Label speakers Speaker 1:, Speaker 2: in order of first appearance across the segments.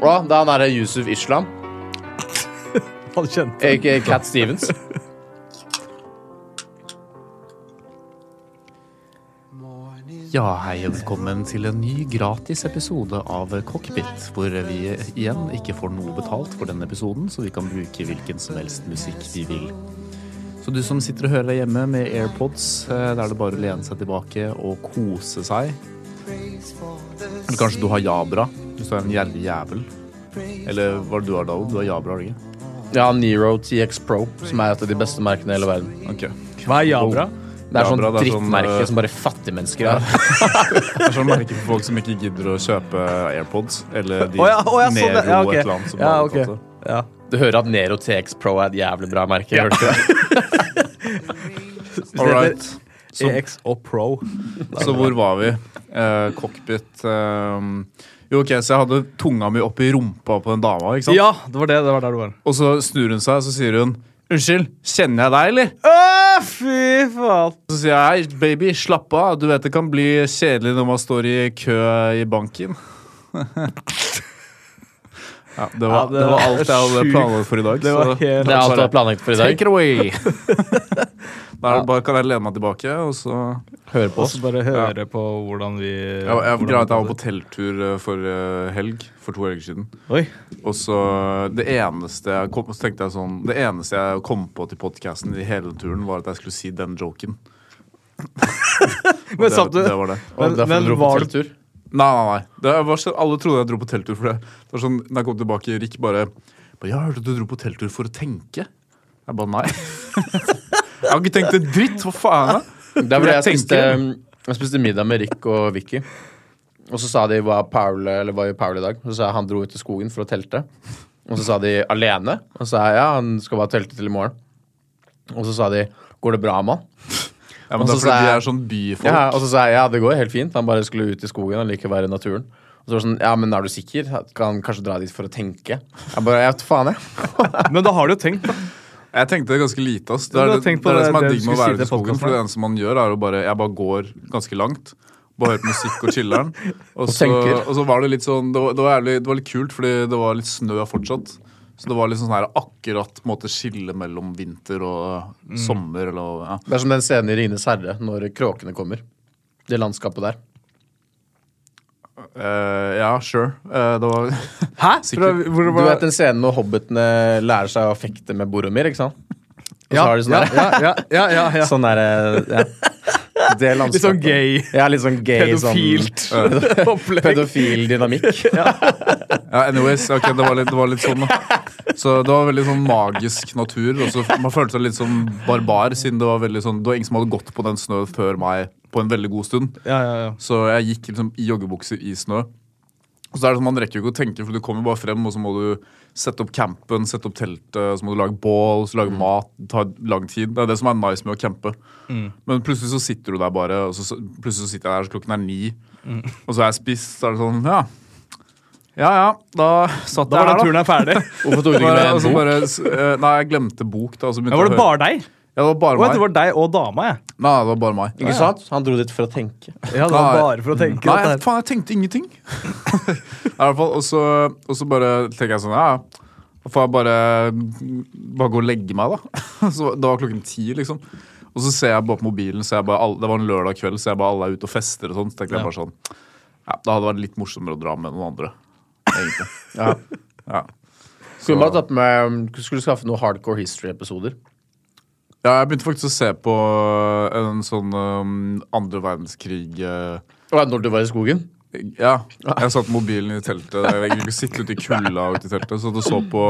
Speaker 1: Og da, det er han derre Yusuf Islam,
Speaker 2: Han kjente
Speaker 1: aka Cat Stevens.
Speaker 3: Ja, hei og velkommen til en ny gratis episode av Cockpit, hvor vi igjen ikke får noe betalt for denne episoden, så vi kan bruke hvilken som helst musikk vi vil. Så du som sitter og hører deg hjemme med AirPods, eh, da er det bare å lene seg tilbake og kose seg. Eller kanskje du har Jabra, hvis du er en gjerrig jævel. Eller hva er det du har, David? Du har Jabra, har du ikke?
Speaker 1: Ja, Nero TX Pro, som er et av de beste merkene i hele verden.
Speaker 3: Ok.
Speaker 2: Hva er Jabra?
Speaker 1: Det er sånn
Speaker 3: Jabra, det er sånn,
Speaker 1: drittmerke
Speaker 3: eh,
Speaker 1: som bare fattige mennesker har.
Speaker 3: Det er sånn merke for folk som ikke gidder å kjøpe AirPods, eller de
Speaker 2: Å ja, å ja, sånn,
Speaker 3: Nero
Speaker 2: ja, ok.
Speaker 3: et eller annet som
Speaker 2: Ja,
Speaker 3: har
Speaker 2: ok.
Speaker 3: tatt det.
Speaker 2: Ja.
Speaker 1: Du hører at Nero TX Pro er et jævlig bra merke. hørte du det?
Speaker 3: All right. Så
Speaker 2: EX E og Pro.
Speaker 3: Så hvor var vi? Eh, cockpit eh, Jo, ok, så jeg hadde tunga mi oppi rumpa på den dama, ikke sant?
Speaker 2: Ja, det var det. Det var der du var.
Speaker 3: Og så snur hun seg, og så sier hun Unnskyld, kjenner jeg deg, eller?
Speaker 2: Å, fy faen!
Speaker 3: Så sier jeg hei, baby, slapp av. Du vet det kan bli kjedelig når man står i kø i banken. ja, det var,
Speaker 2: Ja,
Speaker 3: det,
Speaker 2: det
Speaker 3: var
Speaker 2: var
Speaker 3: alt jeg hadde
Speaker 2: sjukt.
Speaker 3: planlagt for i dag.
Speaker 2: Det var
Speaker 3: så-
Speaker 2: helt-
Speaker 1: Det er alt du har planlagt for i dag.
Speaker 3: Take it away! da er det bare, kan jeg lene meg tilbake, og så
Speaker 1: Hør på
Speaker 2: Og
Speaker 1: oss.
Speaker 2: så bare høre på hvordan vi
Speaker 3: Jeg, jeg,
Speaker 2: hvordan
Speaker 3: greia er at jeg var
Speaker 2: vi-
Speaker 3: på telttur eh, for eh, helg, for to helger siden.
Speaker 2: Oi.
Speaker 3: Og så eh, det eneste jeg kom, så tenkte jeg sånn Det eneste jeg kom på til podkasten i hele turen, var at jeg skulle si den joken.
Speaker 2: Men
Speaker 3: det,
Speaker 2: satt du
Speaker 3: det var det.
Speaker 1: Og
Speaker 2: Men-
Speaker 1: derfor
Speaker 2: men
Speaker 1: dro på
Speaker 2: var-
Speaker 1: telttur.
Speaker 3: Nei, nei, nei. Det var, så- alle trodde jeg dro på telttur for det. Det var sånn, Da jeg kom tilbake, Rick bare «Bare, Ja, jeg hørte du dro på telttur for å tenke. Jeg bare nei. jeg har ikke tenkt en dritt! Hva faen? da?
Speaker 1: Der hvor
Speaker 3: Jeg
Speaker 1: jeg spiste,
Speaker 3: tenker-
Speaker 1: um, jeg spiste middag med Rick og Vicky. Og så sa de hva er Paul, eller hva gjør Paul i dag? Og så sa jeg han dro ut i skogen for å telte. Og så sa de alene. Og så sa jeg ja, han skal bare telte til i morgen. Og så sa de går det bra med han?
Speaker 3: Ja,
Speaker 1: Og
Speaker 3: men det
Speaker 1: så
Speaker 3: er
Speaker 1: sa
Speaker 3: fordi de
Speaker 1: jeg-
Speaker 3: er sånn byfolk.
Speaker 1: Ja, og så sa jeg ja, det går helt fint. Han bare skulle ut i skogen. Han liker å være i naturen. Og så var det sånn, ja, men er du sikker? Kan han kanskje dra dit for å tenke? Jeg bare, ja, faen jeg.
Speaker 2: Men da har du jo tenkt, da.
Speaker 3: Jeg tenkte ganske lite. Ass. Det
Speaker 2: Ja,
Speaker 3: er
Speaker 2: du har
Speaker 3: det, det,
Speaker 2: tenkt på
Speaker 3: er det
Speaker 2: det-
Speaker 3: som er
Speaker 2: det du
Speaker 3: digg
Speaker 2: skulle
Speaker 3: med å
Speaker 2: si
Speaker 3: være ute
Speaker 2: til
Speaker 3: i skogen.
Speaker 2: podcasten
Speaker 3: For
Speaker 2: her.
Speaker 3: det eneste man gjør, er å bare Jeg bare går ganske langt. Bare hører på musikk og chiller'n. Og, så-
Speaker 1: tenker.
Speaker 3: og så var det litt sånn det var, det, var jævlig, det var litt kult, fordi det var litt snø fortsatt. Så det var litt sånn her akkurat på en måte skille mellom vinter og
Speaker 2: Mm.
Speaker 3: sommer. Eller, ja.
Speaker 1: Det er som den scenen i Rines herre når kråkene kommer. Det landskapet der.
Speaker 3: Eh, ja, sure. Eh, det var
Speaker 2: Hæ?
Speaker 3: sikkert hvor det
Speaker 1: Du
Speaker 3: var,
Speaker 1: vet den scenen når hobbitene lærer seg å fekte med Boromir, ikke sant? Og så
Speaker 2: Ja,
Speaker 1: har de sånn der,
Speaker 2: ja, ja, ja, ja, ja.
Speaker 1: Sånn der, ja. Det landskapet.
Speaker 2: Litt sånn gay.
Speaker 1: Ja, litt sånn gay.
Speaker 2: Pedofilt
Speaker 1: Sånn,
Speaker 2: opplegg.
Speaker 1: pedofil dynamikk.
Speaker 3: Ja, anyways, ok, det var, litt, det var litt sånn da. Så det var veldig sånn magisk natur. Og så man følte seg litt som barbar, siden det var veldig sånn Det var ingen som hadde gått på den snøen før meg på en veldig god stund.
Speaker 2: Ja, ja, ja.
Speaker 3: Så jeg gikk liksom i joggebukser i snø. Og så er det sånn, Man rekker jo ikke å tenke, for du kommer bare frem, og så må du sette opp campen, sette opp teltet, så må du lage bål, så lage
Speaker 2: Mm.
Speaker 3: mat. Det tar lang tid. Det er det som er nice med å campe.
Speaker 2: Mm.
Speaker 3: Men plutselig så sitter du der bare, og så, så- plutselig så sitter jeg der, så klokken er ni,
Speaker 2: Mm.
Speaker 3: og så er jeg spist, så er det sånn Ja, ja, ja da satt
Speaker 2: Da var
Speaker 3: jeg
Speaker 2: den
Speaker 3: her, da.
Speaker 2: turen her ferdig.
Speaker 1: Hvorfor tok du ikke
Speaker 3: Bare, og
Speaker 1: med
Speaker 3: så
Speaker 1: en bok?
Speaker 3: bare, s- eh, nei, jeg glemte bok, da. Og så begynte
Speaker 2: Ja, var
Speaker 3: jeg
Speaker 2: det
Speaker 3: å høre-
Speaker 2: bare deg?
Speaker 3: Ja, det var bare
Speaker 2: Å,
Speaker 3: meg.
Speaker 2: det var deg og dama, jeg.
Speaker 3: Nei, det var bare meg.
Speaker 1: Ikke sant? Han dro dit for å tenke.
Speaker 2: Ja, det var bare for å tenke.
Speaker 3: Nei,
Speaker 2: dette her.
Speaker 3: faen, jeg tenkte ingenting. I hvert fall, og så, og så bare tenker jeg sånn, ja, ja, da får jeg bare, bare gå og legge meg da. Så, det var klokken ti, liksom. Og så ser jeg bare på mobilen, så jeg bare, alle- det var en lørdag kveld, så jeg bare alle er ute og fester og sånn. Så tenkte jeg bare sånn, ja, da hadde det vært litt morsommere å dra med noen andre, egentlig.
Speaker 1: Ja.
Speaker 3: Ja,
Speaker 1: Skulle bare tatt med um, Skulle skaffe noen hardcore history-episoder.
Speaker 3: ja jeg begynte faktisk å se på en sånn um, andre verdenskrig... eh,
Speaker 1: Og ja, når du var i skogen.
Speaker 3: Ja, jeg satt mobilen i teltet. Jeg ville ikke sitte ute i kulda ute i teltet. Så du så på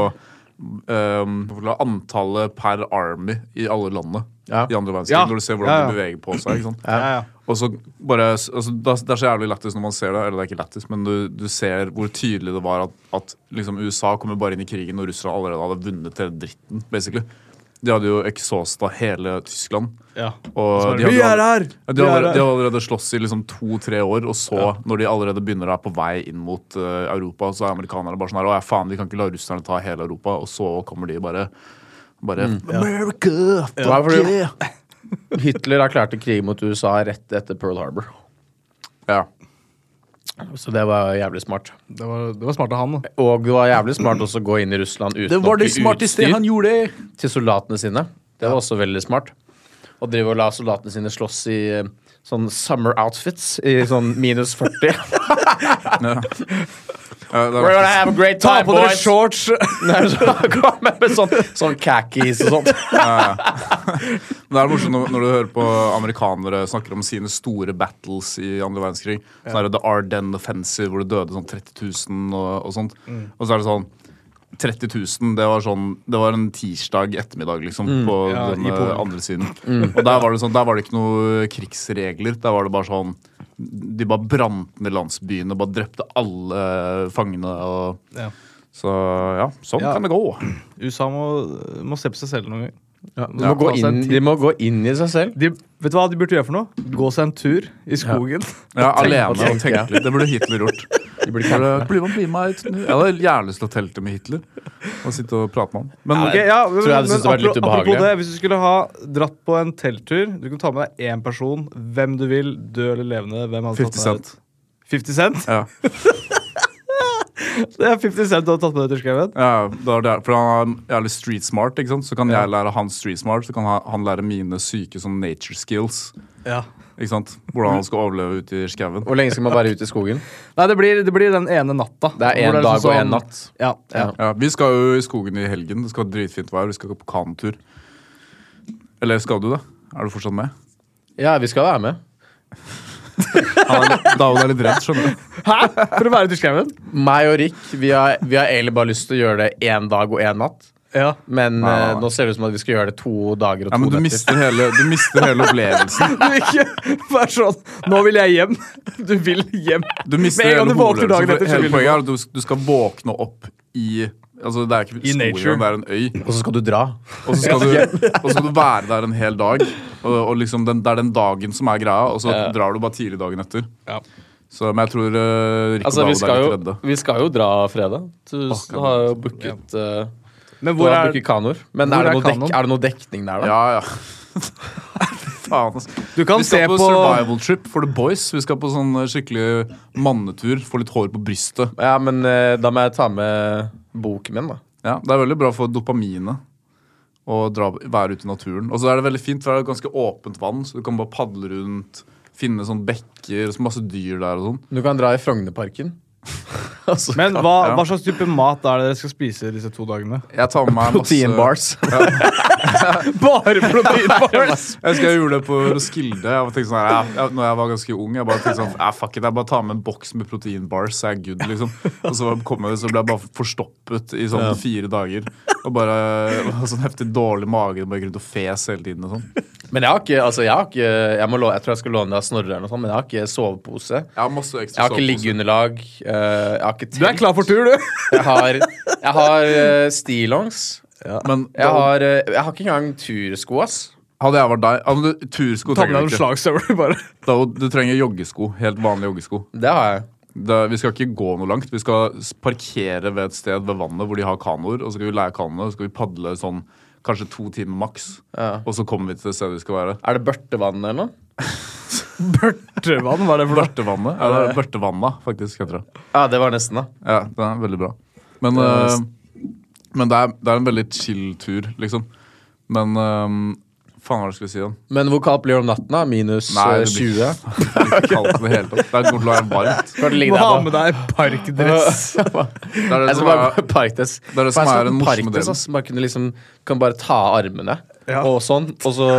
Speaker 3: ehm, antallet per army i alle landene
Speaker 1: Ja.
Speaker 3: i andre verdenskrig.
Speaker 2: Ja.
Speaker 3: Når du ser hvordan
Speaker 2: Ja, ja.
Speaker 3: de beveger på seg. ikke sant?
Speaker 2: Ja, ja.
Speaker 3: Og så bare, altså, da- Det er så jævlig lættis når man ser det. Eller det er ikke lættis, men du, du ser hvor tydelig det var at, at liksom USA kommer bare inn i krigen når Russland allerede hadde vunnet hele dritten. basically. De hadde jo exhausta hele Tyskland.
Speaker 2: Ja. Så
Speaker 3: Og
Speaker 2: er
Speaker 3: de
Speaker 2: det,
Speaker 3: hadde
Speaker 2: vi er
Speaker 3: allerede-
Speaker 2: her!
Speaker 3: ja,
Speaker 2: Vi
Speaker 3: De
Speaker 2: er
Speaker 3: har allerede, de
Speaker 2: her!
Speaker 3: har allerede slåss i liksom to-tre år, og så, når de allerede begynner å være på vei inn mot eh, Europa, så er amerikanerne bare sånn her Å ja, faen, vi kan ikke la russerne ta hele Europa. Og så kommer de bare bare America! Fuck
Speaker 1: Mm. Ja, fordi-
Speaker 3: yeah!
Speaker 1: Hitler erklærte krig mot USA rett etter Pearl Harbor.
Speaker 3: Ja.
Speaker 1: Så det var jævlig smart.
Speaker 2: Det var, det var smart av han, da.
Speaker 1: Og det var jævlig smart også å gå inn i Russland uten
Speaker 4: Det var det
Speaker 1: ordentlig
Speaker 4: smarteste
Speaker 1: utstyr
Speaker 4: han gjorde!
Speaker 1: til soldatene sine. Det var også veldig smart. Å drive og la soldatene sine slåss i eh, sånn summer outfits i sånn minus 40.
Speaker 3: Ja, det
Speaker 1: We're
Speaker 3: var,
Speaker 1: gonna have a great
Speaker 4: Ta
Speaker 1: time,
Speaker 4: på dere
Speaker 1: boys!
Speaker 4: shorts!
Speaker 1: Nei, så kom jeg med sånn, sånn khakis og sånt.
Speaker 3: men det er morsomt når, når du hører på amerikanere snakker om sine store battles i andre verdenskrig. Sånn er det The Arden Offensive, hvor det døde sånn 30 000 og, og sånt. Og så er det sånn 30 000, det var, sånn, det var en tirsdag ettermiddag, liksom, på
Speaker 2: Mm. Ja, i
Speaker 3: den eh,
Speaker 2: Polen. Mm.
Speaker 3: andre siden. Og der var, det sånn, der var det ikke noe krigsregler. Der var det bare sånn De bare brant ned landsbyen og bare drepte alle fangene. Og,
Speaker 2: Ja.
Speaker 3: så ja, sånn
Speaker 2: Ja.
Speaker 3: kan det gå.
Speaker 2: USA må, må se på seg selv noen gang.
Speaker 1: De må, gå inn, de må gå inn i seg selv.
Speaker 2: De, vet du hva de burde gjøre for noe? Gå seg en tur i skogen.
Speaker 3: Ja, alene
Speaker 1: og tenke.
Speaker 3: og tenke litt. Det burde Hitler gjort. Burde- Bli med, bli med ut. Jeg hadde gjerne lyst til å telte med Hitler og sitte og prate med han. Men
Speaker 2: Ok, ja, men,
Speaker 1: tror jeg hadde
Speaker 2: men
Speaker 1: syntes det var litt
Speaker 2: apro-
Speaker 1: ubehagelig.
Speaker 2: apropos det, Hvis du skulle ha dratt på en telttur Du kunne ta med deg én person, hvem du vil, død eller levende. Hvem hadde
Speaker 3: 50
Speaker 2: tatt med deg
Speaker 3: Cent.
Speaker 2: ut? 50 Cent?
Speaker 3: Ja.
Speaker 2: Det er 50 Cent du hadde tatt med deg til skauen.
Speaker 3: Ja, det var der, for han er jævlig street smart, ikke sant? så kan jeg lære han street smart. Så kan han- han lære mine syke sånn nature skills.
Speaker 2: Ja.
Speaker 3: Ikke sant? Hvordan han skal overleve ute i skauen.
Speaker 1: Hvor lenge skal man være ute i skogen?
Speaker 2: Nei, det blir, det blir den ene natta.
Speaker 1: Det er
Speaker 2: Hvor
Speaker 1: én dag
Speaker 2: liksom
Speaker 1: og
Speaker 2: sånn-
Speaker 1: én natt.
Speaker 2: Ja, ja.
Speaker 1: Ja.
Speaker 3: Ja, vi skal jo i skogen i helgen. Det skal være dritfint vær. Vi skal gå på kanotur. Eller skal du det? Er du fortsatt med?
Speaker 1: Ja, vi skal være med.
Speaker 3: Han er, David er litt redd, skjønner du.
Speaker 2: For å være ute i skauen?
Speaker 1: Meg og Rick vi har, vi har egentlig bare lyst til å gjøre det én dag og én natt.
Speaker 2: Ja.
Speaker 1: Men
Speaker 3: Nei, nei,
Speaker 1: eh,
Speaker 3: nei.
Speaker 1: nå ser det ut som at vi skal gjøre det to dager og to
Speaker 3: Ja, men du
Speaker 1: netter.
Speaker 3: mister hele, du mister hele opplevelsen.
Speaker 2: Du ikke vær sånn Nå vil jeg hjem. Du vil hjem.
Speaker 3: Du mister
Speaker 2: Med en
Speaker 3: hele
Speaker 2: gang du våkner dagen
Speaker 3: hovedøvelsen,
Speaker 2: etter,
Speaker 3: for
Speaker 2: så
Speaker 3: Hele
Speaker 2: vil du
Speaker 3: poenget er at du, du skal våkne opp i Altså, det er ikke
Speaker 2: I
Speaker 3: skogen,
Speaker 2: nature.
Speaker 3: det er en øy.
Speaker 1: Og så skal du dra.
Speaker 3: Og så skal, du, og så skal du være der en hel dag. Og, og liksom den, Det er den dagen som er greia, og så
Speaker 1: Ja.
Speaker 3: drar du bare tidlig dagen etter.
Speaker 2: Ja.
Speaker 3: Så, men jeg tror eh, Rick og
Speaker 1: Altså, vi
Speaker 3: David er
Speaker 1: skal,
Speaker 3: litt
Speaker 1: jo,
Speaker 3: redde.
Speaker 1: vi skal jo dra fredag. Du s-
Speaker 3: kan
Speaker 1: har
Speaker 3: man-
Speaker 1: jo booket eh,
Speaker 2: Men
Speaker 1: Du
Speaker 2: hvor
Speaker 1: har
Speaker 2: er
Speaker 1: booket kanoer. Men
Speaker 2: hvor
Speaker 1: er det,
Speaker 2: er
Speaker 1: noe dekk,
Speaker 2: kanoen?
Speaker 1: er det noe dekning der, da?
Speaker 3: Ja, ja. Faen, altså.
Speaker 2: Du kan
Speaker 3: Vi skal
Speaker 2: se
Speaker 3: på
Speaker 2: på-
Speaker 3: survival trip for the boys. Vi skal på sånn eh, skikkelig mannetur. Få litt hår på brystet.
Speaker 1: Ja, men eh, da må jeg ta med boken min, da.
Speaker 3: Ja, Det er veldig bra for dopaminet å dra, være ute i naturen. Og så er det veldig fint, for det er ganske åpent vann, så du kan bare padle rundt. Finne sånn bekker, så masse dyr der og sånn.
Speaker 1: Du kan dra i Frognerparken. altså,
Speaker 2: Men hva,
Speaker 3: Ja.
Speaker 2: hva slags type mat er det dere skal spise disse to dagene?
Speaker 3: Jeg tar med meg masse
Speaker 1: proteinbars.
Speaker 2: Bare proteinbars!
Speaker 3: Jeg husker jeg gjorde det på Roskilde. Jeg tenkte sånn, her, ja, ja, når jeg var ganske ung. Jeg bare tenkte sånn, ja, fuck it, jeg bare tar med en boks med proteinbars, så er jeg good, liksom. Og så kom jeg, så ble jeg bare forstoppet i sånn fire dager. Og bare og sånn heftig dårlig mage. og Bare gikk rundt og fes hele tiden og sånn.
Speaker 1: men jeg har ikke altså, jeg, har ikke, jeg, må lå, jeg tror jeg skal låne deg av Snorre, eller noe sånt, men jeg har ikke sovepose.
Speaker 3: Jeg har masse ekstra
Speaker 1: Jeg har ikke
Speaker 3: sovepose.
Speaker 1: liggeunderlag. eh, jeg har ikke telt.
Speaker 2: Du er klar for tur, du!
Speaker 1: Jeg har, jeg har eh, stillongs.
Speaker 3: Men
Speaker 1: Jeg har, eh, jeg har ikke engang tursko, ass.
Speaker 3: hadde jeg vært deg ja, men du, Tursko
Speaker 2: Ta med deg
Speaker 3: trenger du
Speaker 2: noen
Speaker 3: ikke.
Speaker 2: slagstøvler, bare.
Speaker 3: Da, du trenger joggesko. Helt vanlige joggesko.
Speaker 1: Det har jeg.
Speaker 3: Det, vi skal ikke gå noe langt. Vi skal s- parkere ved et sted ved vannet hvor de har kanoer. Og så skal vi leie kanoene og så skal vi padle sånn kanskje to timer maks.
Speaker 1: Ja.
Speaker 3: Og så kommer vi til stedet vi skal være.
Speaker 1: Er det børtevann eller noe?
Speaker 2: Trøvann, hva er det for noe?
Speaker 3: Børtevannet. Ja, det er Børtevanna, faktisk, heter det.
Speaker 1: Ja, det var nesten, da.
Speaker 3: Ja, det er veldig bra. Men, eh, men det, er, det er en veldig chill tur, liksom. Men eh, Faen, hva var det jeg skulle si igjen?
Speaker 1: Men hvor kaldt blir det om natten? da? Minus
Speaker 3: Nei,
Speaker 1: eh,
Speaker 3: det blir-
Speaker 1: 20?
Speaker 3: Det er ikke kaldt i det hele tatt. Det er godt å være varmt.
Speaker 1: Skal det
Speaker 2: Du
Speaker 1: ligge
Speaker 2: må ha
Speaker 1: der, da?
Speaker 2: med deg parkdress.
Speaker 3: Det er det
Speaker 1: Jeg
Speaker 3: som
Speaker 1: skal bare
Speaker 3: er
Speaker 1: på Parkdes.
Speaker 3: det
Speaker 1: For
Speaker 3: er det
Speaker 1: jeg
Speaker 3: som
Speaker 1: skal
Speaker 3: er
Speaker 1: på
Speaker 3: den morsomme
Speaker 1: Parkdes,
Speaker 3: delen.
Speaker 1: ass. Bare kunne liksom, kan bare ta av armene
Speaker 2: Ja.
Speaker 1: og sånn, og så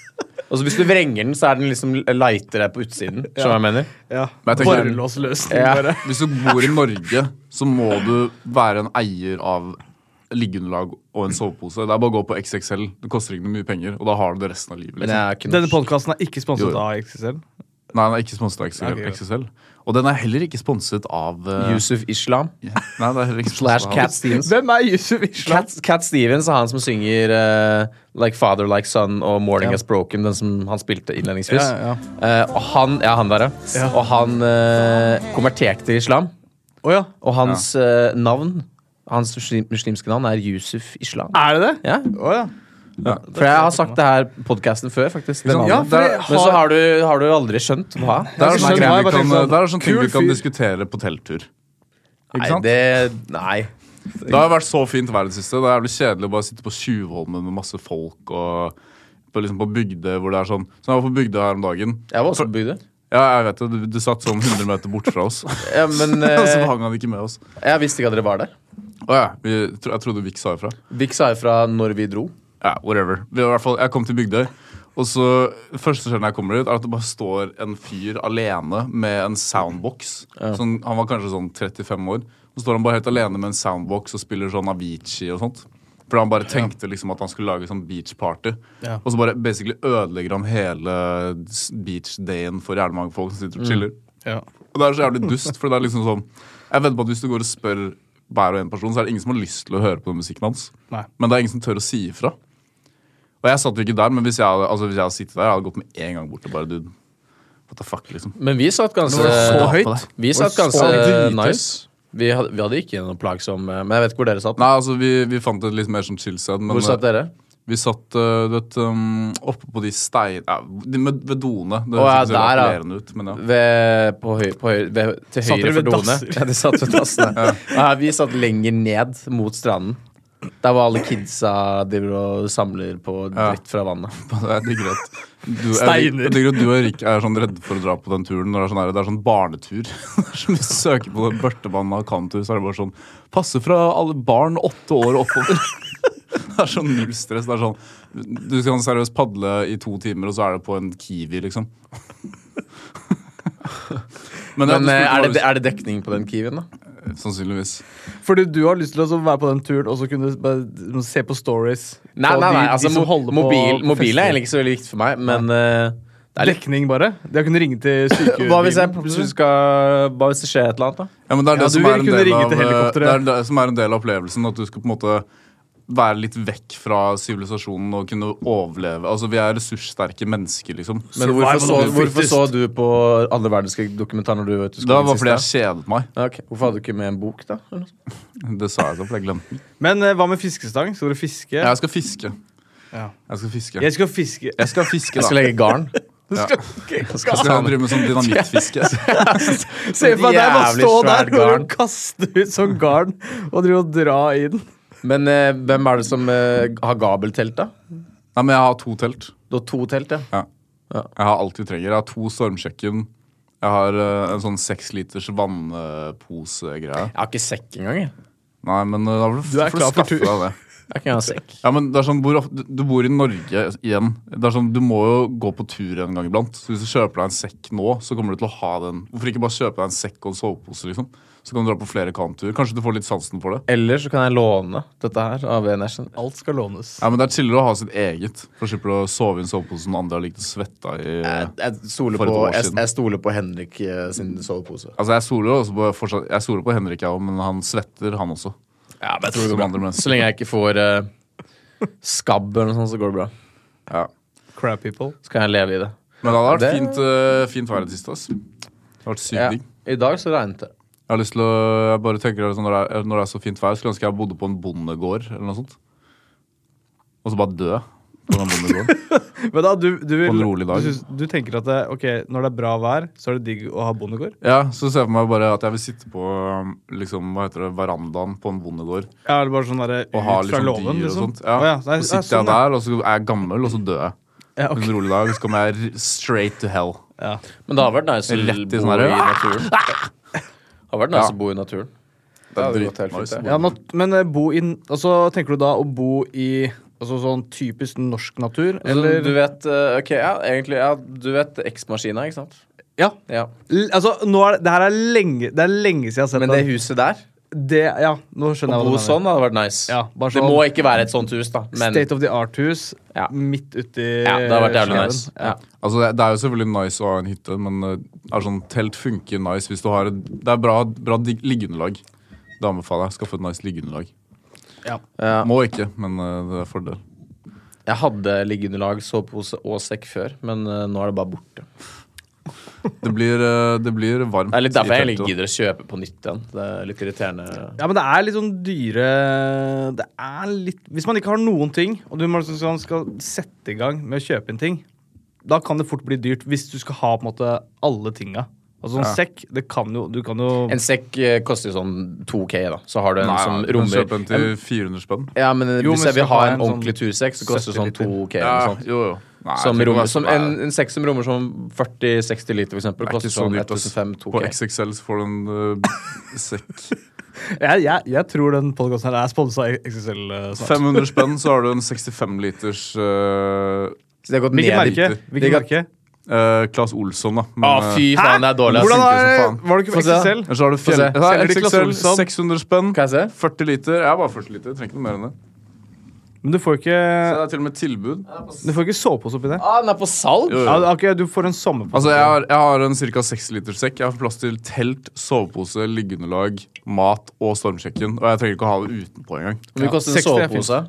Speaker 1: og så Hvis du vrenger den, så er den liksom lightere på utsiden. Skjønner du hva jeg mener?
Speaker 2: Ja.
Speaker 3: Men jeg tenker-
Speaker 2: Borrelåsløsning,
Speaker 1: Ja.
Speaker 2: bare.
Speaker 3: Hvis du bor i Norge, så må du være en eier av liggeunderlag og en sovepose. Det er bare å gå på XXL. Det koster ikke noe mye penger, og da har du det resten av livet.
Speaker 1: Men jeg
Speaker 3: Liksom.
Speaker 1: er ikke
Speaker 2: Denne
Speaker 1: norsk.
Speaker 2: podkasten er ikke sponset
Speaker 3: Jo.
Speaker 2: av XXL.
Speaker 3: Nei, den er ikke sponset av XXL.
Speaker 2: Ok, greit.
Speaker 3: XXL. Og den er heller ikke sponset av eh,
Speaker 1: Yusuf Islam
Speaker 3: Nei, det er heller ikke
Speaker 1: slash
Speaker 3: sponset av-
Speaker 1: Cat Stevens.
Speaker 2: Hvem er Yusuf Islam?
Speaker 1: Cat, Cat Stevens er han som synger eh, Like Father, Like Son og Morning
Speaker 2: Ja.
Speaker 1: Has Broken, den som han spilte innledningsvis.
Speaker 2: Ja, ja.
Speaker 1: Eh, og han ja, han der, ja.
Speaker 2: Ja.
Speaker 1: Og han eh, konverterte til islam.
Speaker 2: Å ja.
Speaker 1: Og hans eh, navn, hans muslim- muslimske navn, er Yusuf Islam.
Speaker 2: Er det det?
Speaker 1: Ja.
Speaker 2: Å ja.
Speaker 3: Ja.
Speaker 1: For jeg har sagt det her i podkasten før, faktisk. Den
Speaker 3: sant? Ja,
Speaker 1: andre.
Speaker 3: for jeg
Speaker 1: Men så har du, har du aldri skjønt hva.
Speaker 3: Det er
Speaker 1: som
Speaker 3: sånn,
Speaker 1: greia.
Speaker 2: jeg
Speaker 3: vi
Speaker 2: bare
Speaker 3: kan,
Speaker 2: tenkte sånn,
Speaker 3: det er sånn ting
Speaker 2: kul
Speaker 3: vi kan
Speaker 2: fyr.
Speaker 3: diskutere på telttur. Ikke
Speaker 1: Nei,
Speaker 3: sant?
Speaker 1: det Nei.
Speaker 3: Det har vært så fint vær i det siste. Det er jævlig kjedelig å bare sitte på Tjuvholmen med masse folk og på, liksom på Bygdøy hvor det er sånn. Så jeg var på Bygdøy her om dagen.
Speaker 1: Jeg var også på Bygdøy.
Speaker 3: Ja, jeg vet det. Du, du satt sånn 100 meter bort fra oss. Og
Speaker 1: Ja, men eh,
Speaker 3: så hang han ikke med oss.
Speaker 1: jeg visste ikke at dere var der.
Speaker 3: Å ja. Vi, tro- jeg trodde Vik sa ifra.
Speaker 1: Vik sa ifra når vi dro.
Speaker 3: Ja, whatever. Vi var i hvert fall, jeg kom til Bygdøy, og så første skjønnen jeg kommer ut, er at det bare står en fyr alene med en soundbox. Sånn, han var kanskje sånn 35 år. Så står han bare helt alene med en soundbox og spiller sånn Avicii og sånt. For han bare tenkte liksom at han skulle lage sånn beachparty.
Speaker 2: Ja.
Speaker 3: Og så bare basically ødelegger han hele s- beachdayen for jævlig mange folk som sitter og chiller.
Speaker 2: Ja.
Speaker 3: Og det er så jævlig dust, for det er liksom sånn Jeg vet på at hvis du går og spør hver og en person, så er det ingen som har lyst til å høre på den musikken hans.
Speaker 2: Nei.
Speaker 3: Men det er ingen som tør å si ifra. Og jeg satt jo ikke der, men hvis jeg, hadde- altså, hvis jeg hadde sittet der, jeg hadde gått med en gang bort og bare dude, what the fuck, liksom.
Speaker 1: Men vi satt ganske
Speaker 3: så
Speaker 2: høyt.
Speaker 1: Vi satt
Speaker 2: Var det så
Speaker 1: ganske
Speaker 2: dritøys?
Speaker 1: nice. Vi hadde, vi hadde ikke noe plagsom eh, Men jeg vet ikke hvor dere satt.
Speaker 3: Nei, altså, vi, vi fant et litt mer sånn chill sted, men
Speaker 1: Hvor satt
Speaker 3: eh,
Speaker 1: dere?
Speaker 3: vi satt eh, du vet, um, oppe på de stein... Ja, de med, ved doene. Det
Speaker 1: Å, ja,
Speaker 3: ser
Speaker 1: der, ja.
Speaker 3: appellerende ut, men ja.
Speaker 1: Ved, på høy, på høy, ved, til
Speaker 2: Satt
Speaker 1: høyre
Speaker 2: dere
Speaker 1: for
Speaker 2: ved
Speaker 1: doene.
Speaker 2: dasser?
Speaker 1: Ja, de satt ved dassene. Nei, vi satt lenger ned mot stranden. Der var alle kidsa driver og samler på
Speaker 3: Ja.
Speaker 1: dritt fra vannet.
Speaker 3: Altså, Jeg digger at du, jeg,
Speaker 2: Steiner.
Speaker 3: jeg digger at du og Erik er sånn redde for å dra på den turen. Når det, er sånn her, det er sånn barnetur. Så Hvis du søker på den børtebanen av Kantur, så er det bare sånn Passe fra alle barn åtte år og oppover. Det er sånn null stress. Det er sånn Du kan seriøst padle i to timer, og så er det på en Kiwi, liksom. Men, ja,
Speaker 1: Men eh,
Speaker 3: du spurte
Speaker 1: er
Speaker 3: hva
Speaker 1: det, er det dekning på den kiwien, da?
Speaker 3: du- Sannsynligvis.
Speaker 2: Fordi du har lyst til å så være på den turen og så kunne du bare se på stories.
Speaker 1: Nei,
Speaker 2: Og
Speaker 1: nei,
Speaker 2: de-
Speaker 1: nei
Speaker 2: de
Speaker 1: altså
Speaker 2: som
Speaker 1: mo-
Speaker 2: holder på
Speaker 1: mobil,
Speaker 2: på
Speaker 1: mobil
Speaker 2: fester.
Speaker 1: er egentlig ikke så veldig viktig for meg, men eh, det er litt
Speaker 2: Dekning, bare. De har kunnet ringe til sykebilen.
Speaker 1: Hva hvis jeg plutselig skal Hva Eh, hvis det skjer et eller annet, da?
Speaker 3: Ja, men det er
Speaker 2: Ja,
Speaker 3: det,
Speaker 2: du
Speaker 3: som
Speaker 2: vil
Speaker 3: er, en
Speaker 2: kunne
Speaker 3: del
Speaker 2: ringe
Speaker 3: av, eh,
Speaker 2: til helikopteret.
Speaker 3: det er det som er en del av opplevelsen. At du skal på en måte være litt vekk fra sivilisasjonen og kunne overleve. Altså, Vi er ressurssterke mennesker, liksom.
Speaker 1: Men hvorfor så, hvorfor så du på andre verdenskrig-dokumentar når du vet du
Speaker 3: det var
Speaker 1: den
Speaker 3: fordi jeg
Speaker 1: siste?
Speaker 3: kjedet meg.
Speaker 1: Ja, ok. Hvorfor hadde du ikke med en bok, da? eller noe sånt?
Speaker 3: Det sa jeg så, for jeg glemte den.
Speaker 2: Men eh, hva med fiskestang? Skal dere fiske?
Speaker 3: Jeg skal fiske.
Speaker 2: Ja.
Speaker 3: Jeg skal fiske.
Speaker 2: Jeg skal fiske.
Speaker 3: Jeg skal fiske,
Speaker 1: Jeg
Speaker 3: da.
Speaker 1: skal legge garn.
Speaker 3: Ja.
Speaker 1: Jeg
Speaker 3: Jeg
Speaker 1: skal
Speaker 3: skal drive med sånn dynamittfiske.
Speaker 2: Se for deg bare
Speaker 1: Jævlig
Speaker 2: stå
Speaker 1: svært
Speaker 2: der og
Speaker 1: garn.
Speaker 2: kaste ut sånn garn og drive og dra i den.
Speaker 1: Men eh, hvem er det som eh, har gabeltelt, da?
Speaker 3: Nei, men jeg har to telt.
Speaker 1: Du har to telt, ja.
Speaker 3: Ja. Jeg har alt vi trenger. Jeg har to stormkjøkken. Jeg har eh, en sånn seksliters vannposegreie.
Speaker 1: Jeg har ikke sekk engang. jeg.
Speaker 3: Nei, men eh, da får
Speaker 2: Du er
Speaker 3: får
Speaker 2: klar for
Speaker 3: skaffe
Speaker 2: tur.
Speaker 3: deg det.
Speaker 1: Jeg har ikke engang sekk.
Speaker 3: Ja, men det er sånn, hvor, ofte- Du bor i Norge igjen. Det er sånn, Du må jo gå på tur en gang iblant. Så Hvis du kjøper deg en sekk nå, så kommer du til å ha den. Hvorfor ikke bare kjøpe deg en sekk og en sovepose? liksom? Så kan du dra på flere kampturer. Kanskje du får litt sansen for det.
Speaker 1: Eller så kan jeg låne dette her av en jeg kjenner.
Speaker 2: Alt skal lånes.
Speaker 3: Ja, men Det er chillere å ha sitt eget. For slipper du å sove i en sovepose som andre har ligget og svetta i.
Speaker 1: Jeg, jeg, stoler
Speaker 3: For et
Speaker 1: på,
Speaker 3: år
Speaker 1: jeg,
Speaker 3: siden.
Speaker 1: jeg stoler på Henrik eh, sin sovepose.
Speaker 3: Altså, Jeg soler jo også på, fortsatt, jeg soler på Henrik, jeg òg, men han svetter, han også.
Speaker 1: Ja, men jeg
Speaker 3: Som
Speaker 1: tror det går
Speaker 3: andre
Speaker 1: bra.
Speaker 3: mennesker.
Speaker 1: Så lenge jeg ikke får eh, skabb eller noe sånt, så går det bra.
Speaker 3: Ja.
Speaker 2: Crab people.
Speaker 1: Så kan jeg leve i det.
Speaker 3: Men det hadde vært
Speaker 1: Det-
Speaker 3: fint, eh, fint vær i det siste. ass. Det har vært sykt
Speaker 1: Ja.
Speaker 3: digg.
Speaker 1: I dag så regnet det.
Speaker 3: Jeg har lyst til å, jeg bare tenker at når det er, når det er så fint vær, skulle jeg ønske jeg bodde på en bondegård eller noe sånt. Og så bare dø på den bondegården.
Speaker 2: Men da, du, du, vil,
Speaker 3: På en rolig dag.
Speaker 2: Du, syns- du tenker at det, ok, når det er bra vær, så er det digg å ha bondegård?
Speaker 3: ja, så ser jeg for meg bare at jeg vil sitte på liksom, hva heter det, verandaen på en bondegård
Speaker 2: Ja, er det bare sånn derre ut
Speaker 3: og ha
Speaker 2: fra
Speaker 3: litt sånn
Speaker 2: låven,
Speaker 3: dyr
Speaker 2: liksom?
Speaker 3: og sånt. Ja.
Speaker 2: Å ja, nei, ja,
Speaker 3: så sitter
Speaker 2: sånn,
Speaker 3: jeg der, og så er jeg gammel, og så dør jeg.
Speaker 2: Ja, ok.
Speaker 3: En rolig dag, så kommer jeg r- straight to hell.
Speaker 2: Ja.
Speaker 1: Men det har vært nice å
Speaker 3: Rett i
Speaker 1: bo
Speaker 3: sånn her,
Speaker 1: i naturen. Det har vært nice
Speaker 3: Ja.
Speaker 1: å bo i naturen.
Speaker 3: Det
Speaker 1: hadde
Speaker 3: er
Speaker 1: gått helt
Speaker 3: dritnice.
Speaker 1: fint,
Speaker 2: Ja, nat- men eh, bo i n- Altså, tenker du da å bo i altså, sånn typisk norsk natur, Altså,
Speaker 1: Eller,
Speaker 2: eller
Speaker 1: Altså, du vet eh, Ok, ja, egentlig ja, Du vet X-maskina, ikke sant?
Speaker 2: Ja.
Speaker 1: Ja.
Speaker 2: L altså, nå er det, det her er lenge Det er lenge siden jeg har sett
Speaker 1: Men det huset der,
Speaker 2: den. Det, ja, nå
Speaker 1: å
Speaker 2: skjønner jeg
Speaker 1: bo
Speaker 2: hva du mener.
Speaker 1: sånn, hadde vært nice.
Speaker 2: Ja, bare
Speaker 1: Det
Speaker 2: sånn-
Speaker 1: må ikke være et sånt hus, da. Men
Speaker 2: State of the art-hus
Speaker 1: Ja.
Speaker 2: midt uti
Speaker 1: ja, det har vært jævlig
Speaker 2: skauen.
Speaker 1: nice. Ja.
Speaker 3: Altså, det, det er jo selvfølgelig nice å ha en hytte, men eh, er sånn, telt funker nice hvis du har et, Det er bra, bra digg- liggeunderlag. Det anbefaler jeg. Skaffe et nice liggeunderlag.
Speaker 2: Ja.
Speaker 1: Ja.
Speaker 3: Må ikke, men eh, det er fordel.
Speaker 1: Jeg hadde liggeunderlag, sovepose og sekk før, men eh, nå er det bare borte.
Speaker 3: Det blir, eh, det blir varmt.
Speaker 1: Det er litt derfor
Speaker 3: i
Speaker 1: jeg
Speaker 3: teltet.
Speaker 1: egentlig gidder å kjøpe på nytt igjen. Det er litt irriterende.
Speaker 2: Ja, men det er litt sånn dyre Det er litt Hvis man ikke har noen ting, og du må liksom sånn skal sette i gang med å kjøpe inn ting, da kan det fort bli dyrt hvis du skal ha på en måte alle tinga. Altså en
Speaker 3: Ja.
Speaker 2: sekk, det kan jo Du kan jo
Speaker 1: En sekk eh, koster jo sånn 2K, da. Så har du en
Speaker 3: Nei,
Speaker 1: som
Speaker 3: ja,
Speaker 1: rommer
Speaker 3: Kjøp en til 400 spenn.
Speaker 1: Ja, men
Speaker 2: Jo,
Speaker 1: hvis
Speaker 2: men
Speaker 1: jeg vil ha
Speaker 2: skal ha
Speaker 1: en
Speaker 2: en sånn
Speaker 1: ordentlig tursekk, så koster det sånn
Speaker 3: 70
Speaker 1: 2K
Speaker 3: Ja,
Speaker 1: eller noe sånt.
Speaker 3: jo, jo. Nei, jeg
Speaker 1: Som
Speaker 3: tror ikke det
Speaker 1: rommer,
Speaker 3: er
Speaker 1: som
Speaker 3: så-
Speaker 1: en,
Speaker 3: Nei,
Speaker 1: en sekk som rommer sånn 40-60 liter, for eksempel,
Speaker 3: det er
Speaker 1: koster
Speaker 3: ikke så
Speaker 1: sånn
Speaker 3: dyrt, ass.
Speaker 1: 1500-2K.
Speaker 3: På XXL så får du en eh, sekk.
Speaker 2: Jeg, jeg, jeg tror den podkasten her er sponsa av XXL eh, snart.
Speaker 3: 500 spenn, så har du en 65 liters eh,
Speaker 1: Så det har gått ned
Speaker 2: Hvilket
Speaker 1: i
Speaker 2: merke? Hvilket
Speaker 1: Digga-
Speaker 2: merke?
Speaker 3: eh, Claes Olsson, da.
Speaker 1: Å,
Speaker 3: Men, eh,
Speaker 1: Ah, fy faen, det er dårlig. ass.
Speaker 2: Hvordan
Speaker 3: sunket
Speaker 2: er,
Speaker 3: som faen.
Speaker 2: Var det ikke
Speaker 1: Få se.
Speaker 2: XXL?
Speaker 3: Ellers har du
Speaker 1: Få
Speaker 3: fjell...
Speaker 1: se.
Speaker 3: Ja,
Speaker 2: Selger de Claes
Speaker 3: XXL,
Speaker 2: Olsson?
Speaker 3: 600 spenn.
Speaker 1: Kan jeg se?
Speaker 3: 40 liter. Ja, bare 40 liter. Trenger ikke noe mer enn det.
Speaker 2: Men du får ikke,
Speaker 3: Så Det er til og med tilbud.
Speaker 2: du får ikke sovepose oppi det.
Speaker 1: Ah, den er på salg!
Speaker 3: Jo, jo.
Speaker 2: Ja, ok, du får en sommerpose.
Speaker 3: Altså, jeg har, jeg har en ca. 6 liters sekk. Jeg har plass til telt, sovepose, liggeunderlag, mat og stormkjøkken. Og jeg trenger ikke å ha det utenpå engang.
Speaker 1: Hvor mye koster en
Speaker 2: 60 er fint.
Speaker 1: sovepose?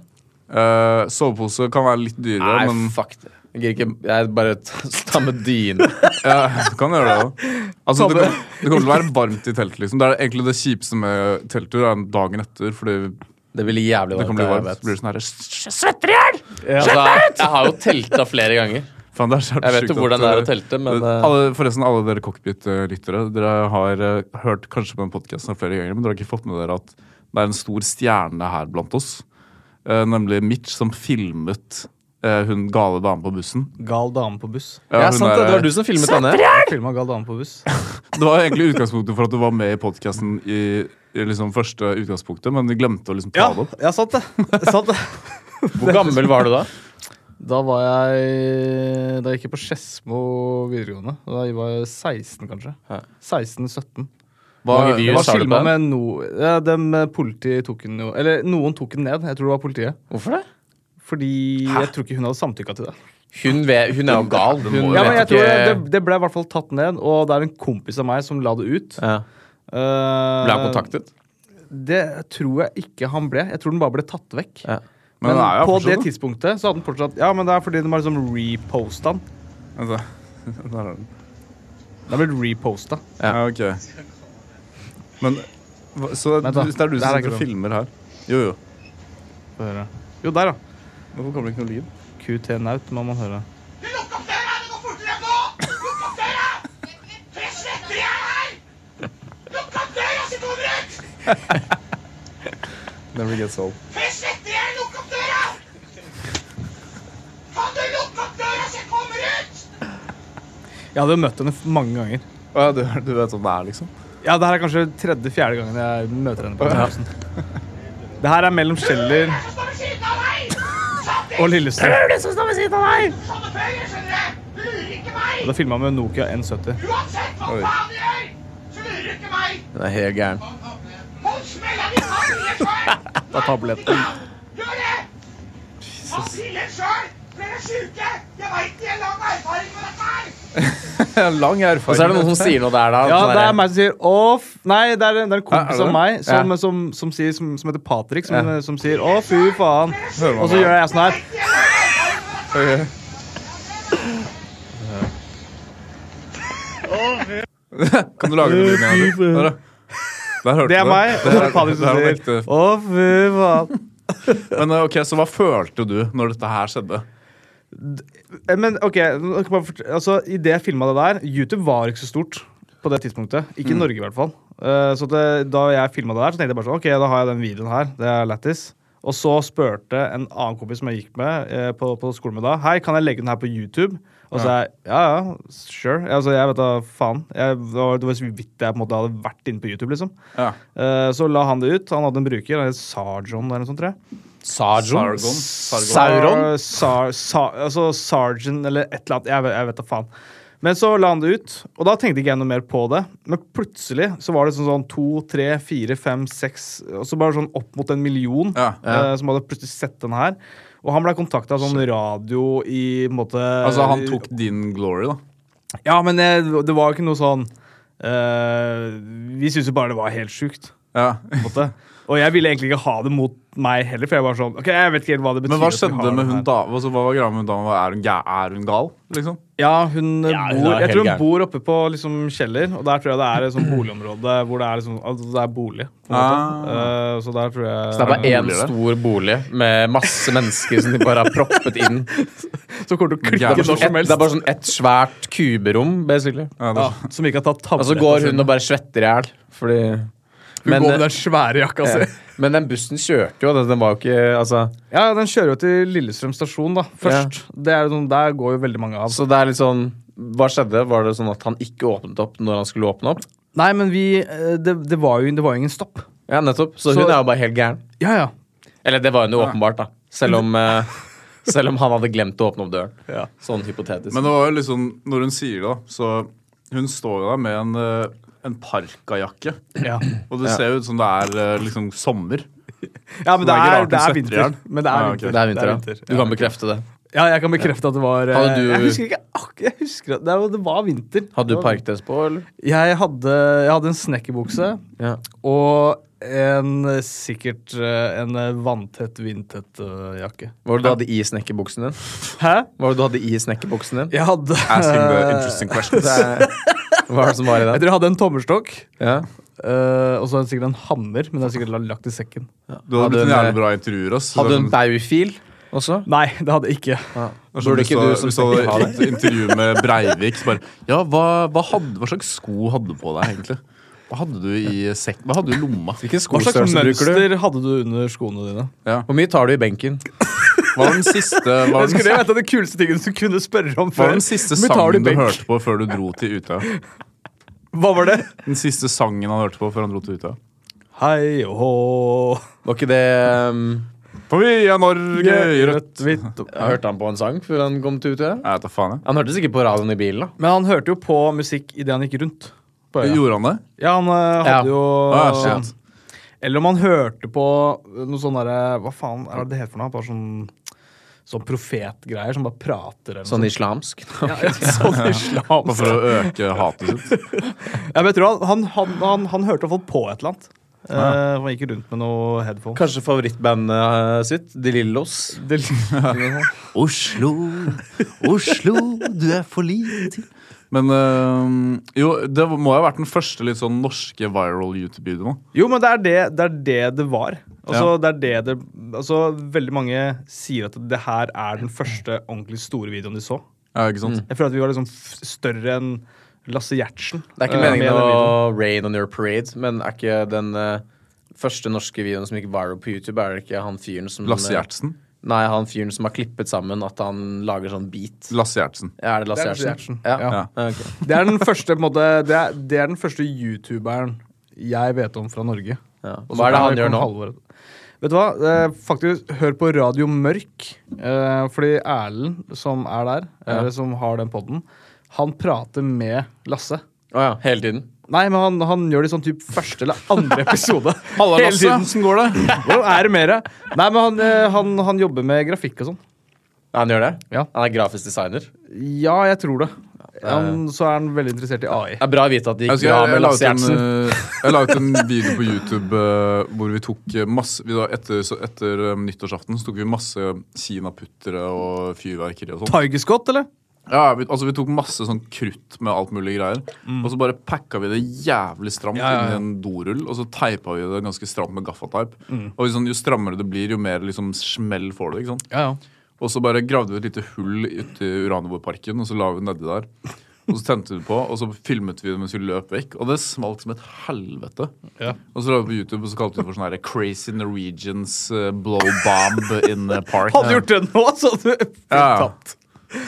Speaker 3: Eh, sovepose kan være litt dyrere,
Speaker 1: Nei,
Speaker 3: men
Speaker 1: fuck det. Jeg gidder ikke Jeg bare t- tar med dyne.
Speaker 3: ja, du kan gjøre det òg. Altså, det, kom- det kommer til å være varmt i teltet. Liksom. Det er egentlig det kjipeste med telttur, er dagen etter. Fordi det
Speaker 1: Det blir jævlig
Speaker 3: kan bli
Speaker 1: varmt.
Speaker 3: varmt.
Speaker 1: jeg
Speaker 3: Så blir
Speaker 1: vet.
Speaker 3: det sånn her
Speaker 1: Altså, jeg har jo telta flere ganger.
Speaker 3: Faen, det er så
Speaker 1: Jeg vet jo
Speaker 3: sjukt
Speaker 1: hvordan
Speaker 3: at,
Speaker 1: det er å
Speaker 3: eh,
Speaker 1: telte, men eh,
Speaker 3: alle, forresten, alle dere cockpit-lyttere, dere har eh, hørt kanskje på den podkasten flere ganger, men dere har ikke fått med dere at det er en stor stjerne her blant oss. Eh, nemlig Mitch, som filmet eh, hun gale dame på bussen.
Speaker 2: Gal dame på buss.
Speaker 3: Ja,
Speaker 1: Ja,
Speaker 3: hun
Speaker 1: sant det.
Speaker 3: er- eh,
Speaker 1: Det var du som filmet den ned.
Speaker 2: Filma gal dame på buss.
Speaker 3: det var egentlig utgangspunktet for at du var med i podkasten i, i liksom første utgangspunktet, men vi glemte å liksom
Speaker 2: Ja,
Speaker 3: ta det opp.
Speaker 2: ja sant, det. sant det.
Speaker 1: Hvor gammel var du da?
Speaker 2: Da var jeg Da gikk jeg på Skedsmo videregående. Da var jeg 16, kanskje.
Speaker 1: Ja.
Speaker 2: 16-17.
Speaker 1: Hvor mange views har du på
Speaker 2: filma
Speaker 1: den?
Speaker 2: med no... Ja, dem, eh, politiet tok den jo Eller noen tok den ned. Jeg tror det var politiet.
Speaker 1: Hvorfor det?
Speaker 2: Fordi jeg tror ikke hun hadde samtykka til det.
Speaker 1: Hun, ve- hun er jo gal. Hun
Speaker 3: må jo
Speaker 2: Ja, men jeg
Speaker 1: vet
Speaker 2: tror det,
Speaker 1: ikke
Speaker 2: det, det ble i hvert fall tatt ned, og det er en kompis av meg som la det ut.
Speaker 1: ja.
Speaker 2: Eh,
Speaker 1: Ble han kontaktet?
Speaker 2: Det tror jeg ikke han ble. Jeg tror den bare ble tatt vekk.
Speaker 1: Ja.
Speaker 3: Men
Speaker 2: Men,
Speaker 3: den er jo
Speaker 2: på
Speaker 3: fortsatt,
Speaker 2: det
Speaker 3: da.
Speaker 2: tidspunktet så hadde den fortsatt Ja, men det er fordi de har liksom reposta den.
Speaker 3: Altså, der er den.
Speaker 2: Den er blitt reposta.
Speaker 3: Ja, ok. Men hva- Så
Speaker 2: Vent da,
Speaker 3: du- det er du
Speaker 2: det
Speaker 3: som
Speaker 2: her er
Speaker 3: sitter og
Speaker 2: ikke lov.
Speaker 3: filmer her? Jo, jo.
Speaker 2: Få høre. eh, Jo, der, ja.
Speaker 3: Hvorfor kommer det ikke noe lyd?
Speaker 2: QT Naut må man høre.
Speaker 5: Lukk opp døra! Det går fortere nå! Lukk opp døra! Tre sletter er her! Lukk opp døra, så kommer du ut!
Speaker 3: Never gets old.
Speaker 5: Tre sletter er her! Lukk opp døra! Kan du lukke opp døra, så jeg kommer ut?
Speaker 2: Jeg hadde jo møtt henne f- mange ganger.
Speaker 3: Å ja, du, du vet sånn det er, liksom?
Speaker 2: Ja, det her er kanskje tredje-fjerde gangen jeg møter henne. på den Det her er mellom Kjeller
Speaker 5: Jeg står ved siden av deg! Samtidig
Speaker 2: og Lillestrøm.
Speaker 5: sånne penger, skjønner du! Du lurer
Speaker 2: Og
Speaker 5: ikke
Speaker 2: det
Speaker 5: meg!
Speaker 2: er filma med Nokia N70.
Speaker 5: Uansett hva
Speaker 3: Oi.
Speaker 5: faen du gjør, så lurer du ikke meg!
Speaker 1: Hun er helt gæren.
Speaker 5: Hold smella di! Ta bilen sjøl!
Speaker 2: Ta tabletten.
Speaker 5: Gjør det! Ta bilen sjøl! Dere er sjuke! Jeg veit de har lang erfaring med dette her!
Speaker 3: Lang erfaring.
Speaker 1: Og så er det noen som sier noe der, da.
Speaker 2: Ja,
Speaker 1: Sånn
Speaker 2: det
Speaker 1: der-
Speaker 2: er meg som sier Å, f... Nei, det er, det er en
Speaker 3: Er det
Speaker 2: kompis
Speaker 3: det?
Speaker 2: av meg som,
Speaker 1: Ja.
Speaker 2: som, som, sier, som, som heter Patrick, som, eh,
Speaker 1: Ja.
Speaker 2: som sier Å, fy faen.
Speaker 3: Hører man
Speaker 2: Og så
Speaker 3: meg?
Speaker 2: gjør jeg sånn her.
Speaker 5: De har lang erfaring med dette her!
Speaker 3: Kan du lage noe lyd med det? Der, da. Der hørte
Speaker 2: Det er
Speaker 3: du
Speaker 2: meg. Og så
Speaker 3: Det
Speaker 2: er
Speaker 3: her-
Speaker 2: det Patrick
Speaker 3: det her
Speaker 2: som
Speaker 3: var
Speaker 2: sier
Speaker 3: ekte.
Speaker 2: Å, fy faen.
Speaker 3: Men eh, ok, Så hva følte du når dette her skjedde?
Speaker 2: Eh, Men ok, nå kan jeg bare fort- altså, i det jeg filma det der YouTube var ikke så stort på det tidspunktet. Ikke i Norge, i hvert fall. Eh, så det, da jeg filma det der, så tenkte jeg bare sånn Ok, da har jeg den videoen her. Det er lættis. Og så spurte en annen kompis som jeg gikk med eh, på, på skolen med da, Hei, kan jeg legge den her på YouTube. Og så sa jeg ja, ja, sure. Altså, jeg vet da faen. Jeg, det, var, det var så vidt jeg på en måte hadde vært inne på YouTube, liksom.
Speaker 3: Ja.
Speaker 2: Eh, så la han det ut. Han hadde en bruker, han het Sarjon eller noe sånt, tror jeg.
Speaker 1: Sargon?
Speaker 3: Sargon.
Speaker 1: Sauron?
Speaker 2: Sar, sar, sar, altså Sergeant eller et eller annet. Jeg, vet- jeg vet da faen. Men så la han det ut, og da tenkte ikke jeg noe mer på det. Men plutselig så var det sånn, sånn to, tre, fire, fem, seks Og så bare sånn opp mot en million
Speaker 3: Ja,
Speaker 1: ja.
Speaker 2: eh, som hadde plutselig sett den her. Og han blei kontakta av sånn radio i på en måte
Speaker 3: Altså, han tok din glory, da.
Speaker 2: Ja, men eh, det var ikke noe sånn eh, Vi syntes jo bare det var helt sjukt.
Speaker 3: Ja.
Speaker 2: på en måte. Og jeg ville egentlig ikke ha det mot meg heller, for jeg var sånn ok, jeg vet ikke helt hva det betyr.
Speaker 3: Men hva
Speaker 2: at vi har
Speaker 3: skjedde med
Speaker 2: den
Speaker 3: hun
Speaker 2: her.
Speaker 3: da? Altså, hva var greia med hun dama? Er hun, ga- er hun gal, liksom?
Speaker 2: Ja, hun eh,
Speaker 1: Ja, hun er
Speaker 2: bor, Jeg
Speaker 1: helt
Speaker 2: tror hun
Speaker 1: gæren.
Speaker 2: bor oppe på liksom, Kjeller, og der tror jeg det er et sånt boligområde hvor det er, liksom, altså, det er bolig. På en
Speaker 1: Ah.
Speaker 2: måte. Eh, så der tror jeg
Speaker 1: Så det er bare én
Speaker 3: Boliger, Ah. det.
Speaker 1: stor bolig med masse mennesker som de bare har proppet inn.
Speaker 2: Så kommer du til å
Speaker 3: Gæren.
Speaker 2: klikke når
Speaker 1: Et,
Speaker 2: som helst.
Speaker 1: det er bare sånn et svært kuberom, basically.
Speaker 3: Ja, det,
Speaker 2: ja, som ikke har tatt
Speaker 1: Og så
Speaker 2: tabletter.
Speaker 1: går hun og bare svetter i hjel. Fordi
Speaker 2: Hun
Speaker 1: men,
Speaker 2: går altså. med den svære jakka si.
Speaker 1: eh, men den bussen kjørte jo, den den var jo ikke altså,
Speaker 2: Ja, den kjører jo til Lillestrøm stasjon, da. Først. Det er sånn, der går jo veldig mange av.
Speaker 1: Så det er litt sånn Hva skjedde? Var det sånn at han ikke åpnet opp når han skulle åpne opp?
Speaker 2: Nei, men vi eh, Det, det, var, jo, det var jo ingen stopp.
Speaker 1: Ja, nettopp. Så,
Speaker 2: Så-
Speaker 1: hun er jo bare helt gæren.
Speaker 2: Ja, ja.
Speaker 1: Eller det var hun jo åpenbart, da. Selv om, eh, selv om han hadde glemt å åpne opp døren. Sånn hypotetisk.
Speaker 3: Men det var jo liksom, når hun sier det, da, så Hun står jo der med en, eh, en parkajakke.
Speaker 2: Ja,
Speaker 3: Og det ser jo ut som det er eh, liksom sommer.
Speaker 2: ja men
Speaker 3: det
Speaker 2: det
Speaker 3: er ikke
Speaker 2: er,
Speaker 3: rart
Speaker 2: det er
Speaker 3: hun svetter i
Speaker 2: vinter.
Speaker 3: hjel.
Speaker 2: Men det
Speaker 3: Ja,
Speaker 2: er
Speaker 3: ok.
Speaker 2: vinter.
Speaker 1: det er vinter,
Speaker 2: Det
Speaker 1: ja. Du
Speaker 2: er
Speaker 1: kan bekrefte det.
Speaker 2: Ja, jeg kan bekrefte at det var eh,
Speaker 1: Hadde du-
Speaker 2: Jeg husker ikke ak jeg husker at det, var- det var vinter.
Speaker 1: Hadde
Speaker 2: Det
Speaker 1: du
Speaker 2: var-
Speaker 1: parkdress på, eller?
Speaker 2: Jeg hadde, jeg hadde en snekkerbukse
Speaker 1: Ja.
Speaker 2: og en eh, sikkert eh, en eh, vanntett, vindtett eh, jakke.
Speaker 1: Hva var det du hadde i snekkerbuksen din?
Speaker 2: Hæ?
Speaker 1: Hva var det du hadde i snekkerbuksen din?
Speaker 2: Jeg hadde
Speaker 3: Asking the
Speaker 2: eh,
Speaker 3: interesting questions.
Speaker 1: Det er- Hva var det som var i den?
Speaker 2: Jeg tror jeg hadde en tommelstokk.
Speaker 1: Ja.
Speaker 2: eh, og så hadde jeg sikkert en hammer, men den er sikkert la- lagt i sekken.
Speaker 3: Du
Speaker 1: Hadde
Speaker 3: hadde blitt en
Speaker 1: hun,
Speaker 3: jævlig
Speaker 1: eh,
Speaker 3: bra intervjuer. ass.
Speaker 1: Hadde
Speaker 3: Det
Speaker 1: du
Speaker 3: er
Speaker 1: en
Speaker 3: sånn-
Speaker 1: baufil også?
Speaker 2: Nei, det hadde jeg ikke.
Speaker 3: det er sånn
Speaker 1: Burde
Speaker 3: hvis
Speaker 1: ikke du som
Speaker 3: hvis hadde
Speaker 1: snekker ha det?
Speaker 3: et intervju med Breivik, så bare Ja, hva, hva, hadde, hva slags sko hadde du på deg, egentlig? Hva hadde du i sekk? Hva hadde du i lomma?
Speaker 1: Hvilken
Speaker 2: Hva slags
Speaker 1: skostørrelse bruker du?
Speaker 2: mønster hadde du under skoene dine?
Speaker 1: Hvor mye tar du i benken?
Speaker 3: Hva var den siste, hva var
Speaker 2: Jeg
Speaker 3: den,
Speaker 2: skulle vite den kuleste tingen du kunne spørre om
Speaker 3: hva
Speaker 2: før.
Speaker 3: var den siste
Speaker 2: Men tar
Speaker 3: sangen du
Speaker 2: benk?
Speaker 3: hørte på før du dro til Utøya?
Speaker 2: Hva var det?
Speaker 3: Den siste sangen han hørte på før han dro til Utøya?
Speaker 2: Hei og hå
Speaker 1: Var ikke det um,
Speaker 3: For vi er Norge i rødt
Speaker 2: hvitt og-
Speaker 1: Jeg hørte han på en sang før han kom til Utøya.
Speaker 3: Jeg vet da faen, jeg.
Speaker 1: Han hørte sikkert på radioen i bilen, da.
Speaker 2: Men han hørte jo på musikk idet han gikk rundt. På øya.
Speaker 3: Gjorde han det?
Speaker 2: Ja, han eh,
Speaker 1: Ja.
Speaker 2: hadde
Speaker 3: Ah,
Speaker 2: jo
Speaker 3: shit.
Speaker 2: Eller om han hørte på noe sånn derre Hva faen er det det heter for noe? Bare sånn Sånn profetgreier som bare prater eller noe
Speaker 1: Sånn
Speaker 2: sånt.
Speaker 1: islamsk.
Speaker 2: Ja, ja, sånn islam.
Speaker 3: Bare for å øke hatet sitt.
Speaker 2: Ja, men jeg tror han, han, han, han, han hørte i hvert fall på et eller annet. Eh, han gikk rundt med noe headphone.
Speaker 1: Kanskje favorittbandet eh, sitt, De Lillos.
Speaker 2: Det,
Speaker 3: Oslo, Oslo, du er for liten. Men øhm, jo, det må jo ha vært den første litt sånn norske viral YouTube-videoen. da.
Speaker 2: jo, men det er det det, er det, det var. Altså,
Speaker 3: Ja.
Speaker 2: det er det det, altså, veldig mange sier at det her er den første ordentlig store videoen de så.
Speaker 3: Ja, ikke sant?
Speaker 2: Jeg føler at vi var liksom f større enn Lasse Gjertsen.
Speaker 1: Det er ikke
Speaker 2: eh, med
Speaker 1: meningen
Speaker 2: den videoen.
Speaker 1: å rain on your parade, men er ikke den eh, første norske videoen som gikk viral på YouTube, er det ikke han fyren
Speaker 2: Mm,
Speaker 1: som uh,
Speaker 3: Lasse Gjertsen.
Speaker 1: Nei, han fyren som har klippet sammen at han lager sånn beat.
Speaker 3: Lasse Gjertsen.
Speaker 1: Er det Lasse
Speaker 2: Det er Lasse
Speaker 1: Gjertsen?
Speaker 2: Gjertsen.
Speaker 1: Ja.
Speaker 3: Ja.
Speaker 1: Ja, ok.
Speaker 2: Det er den første, på en måte, det, er, det er den første youtuberen jeg vet om fra Norge.
Speaker 1: ja.
Speaker 2: Og
Speaker 1: Hva
Speaker 2: så
Speaker 1: er det
Speaker 2: er
Speaker 1: han gjør
Speaker 2: Kong
Speaker 1: nå?
Speaker 2: Halvor. Vet du hva? Eh, faktisk, hør på Radio Mørk. Eh, fordi Erlend, som er der,
Speaker 1: Ja.
Speaker 2: eller som har den podden, han prater med Lasse.
Speaker 1: Å ja, hele tiden.
Speaker 2: Nei, men han, han gjør det i sånn typ første eller andre episode.
Speaker 3: Halla,
Speaker 2: Hele
Speaker 3: Lasse.
Speaker 2: tiden.
Speaker 3: Åssen går det?
Speaker 2: Hvordan er det mer? Nei, men han, eh, han, han jobber med grafikk og sånn.
Speaker 1: Ja, han gjør det?
Speaker 2: Ja.
Speaker 1: Han er grafisk designer?
Speaker 2: Ja, jeg tror det. Han, så er han veldig interessert i AI.
Speaker 1: Det er bra å vite at det
Speaker 3: Jeg,
Speaker 1: gikk
Speaker 3: husker,
Speaker 1: bra
Speaker 3: jeg, jeg,
Speaker 1: med
Speaker 3: la ut
Speaker 1: Lasse
Speaker 3: en,
Speaker 1: Gjertsen.
Speaker 3: øh, jeg la ut en video på YouTube øh, hvor vi tok øh, masse vi da, Etter, så etter øh, nyttårsaften så tok vi masse kinaputtere og fyrverkeri og sånn.
Speaker 2: Tiger Scott, eller?
Speaker 3: Ja, vi, altså vi tok masse sånn krutt med alt mulig greier. Og så bare packa vi det jævlig stramt
Speaker 2: Mm. Ja, ja, ja.
Speaker 3: inn i en dorull, og så teipa vi det ganske stramt med gaffateip.
Speaker 2: Mm.
Speaker 3: Og liksom, jo strammere det blir, jo mer liksom, smell får du. ikke sant?
Speaker 2: Ja, ja.
Speaker 3: Og så bare gravde vi et lite hull uti Uraniborparken, og så la vi det nedi der. Og så tente vi det på, og så filmet vi det mens vi løp vekk. Og det smalt som et helvete.
Speaker 2: Ja.
Speaker 3: Og så la vi på YouTube, og så kalte vi det for sånn her Crazy Norwegians eh, blow bomb in the park.
Speaker 2: Hadde du gjort det nå, så hadde du
Speaker 3: Ja.
Speaker 2: tapt.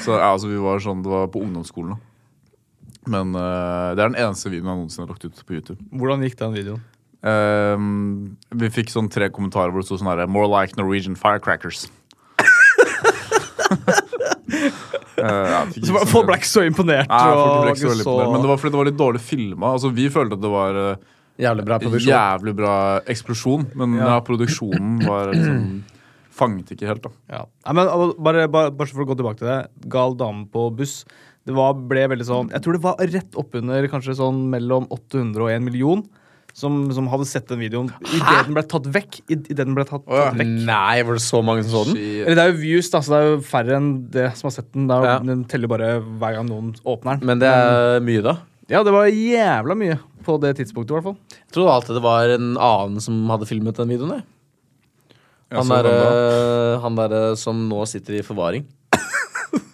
Speaker 3: Så ja, altså, vi var sånn, Det var på ungdomsskolen. da. Men eh, det er den eneste videoen jeg noensinne har lagt ut på YouTube.
Speaker 2: Hvordan gikk den videoen?
Speaker 3: Ehm, vi fikk sånn tre kommentarer hvor det sto sånn her More like Norwegian firecrackers. Eh, ja, fikk
Speaker 2: Så
Speaker 3: ikke
Speaker 2: var-
Speaker 3: så
Speaker 2: Folk
Speaker 3: mye-
Speaker 2: ble ikke så imponert.
Speaker 3: Nei,
Speaker 2: og
Speaker 3: folk ble ikke så veldig
Speaker 2: ikke så-
Speaker 3: imponert, Men det var fordi det var litt dårlig filma. Altså, vi følte at det var eh,
Speaker 1: Jævlig bra produksjon.
Speaker 3: jævlig bra eksplosjon, men ja. produksjonen var liksom Fanget ikke helt, da.
Speaker 2: ja. Nei, men al- bare, bare, bare for å gå tilbake til det. Gal dame på buss. Det var, ble veldig sånn Jeg tror det var rett oppunder kanskje sånn mellom 800 og 1 million. som, som hadde sett den videoen idet den ble tatt vekk. I, i det den ble tatt,
Speaker 1: Åja.
Speaker 2: tatt vekk.
Speaker 1: Nei, var det så mange som så den?
Speaker 3: Shit.
Speaker 2: Eller det er jo views, da, så det er jo færre enn det som har sett den. Det er jo,
Speaker 1: Ja.
Speaker 2: Den teller bare hver gang noen åpner den.
Speaker 1: Men det
Speaker 3: Mm.
Speaker 1: er eh, mye, da.
Speaker 2: Ja, det var jævla mye på det tidspunktet, i hvert fall.
Speaker 1: Jeg trodde alltid det var en annen som hadde filmet den videoen. jeg.
Speaker 3: Jeg
Speaker 1: Han eh,
Speaker 3: så
Speaker 1: derre
Speaker 3: hvem da?
Speaker 1: han der, eh, som nå sitter i forvaring.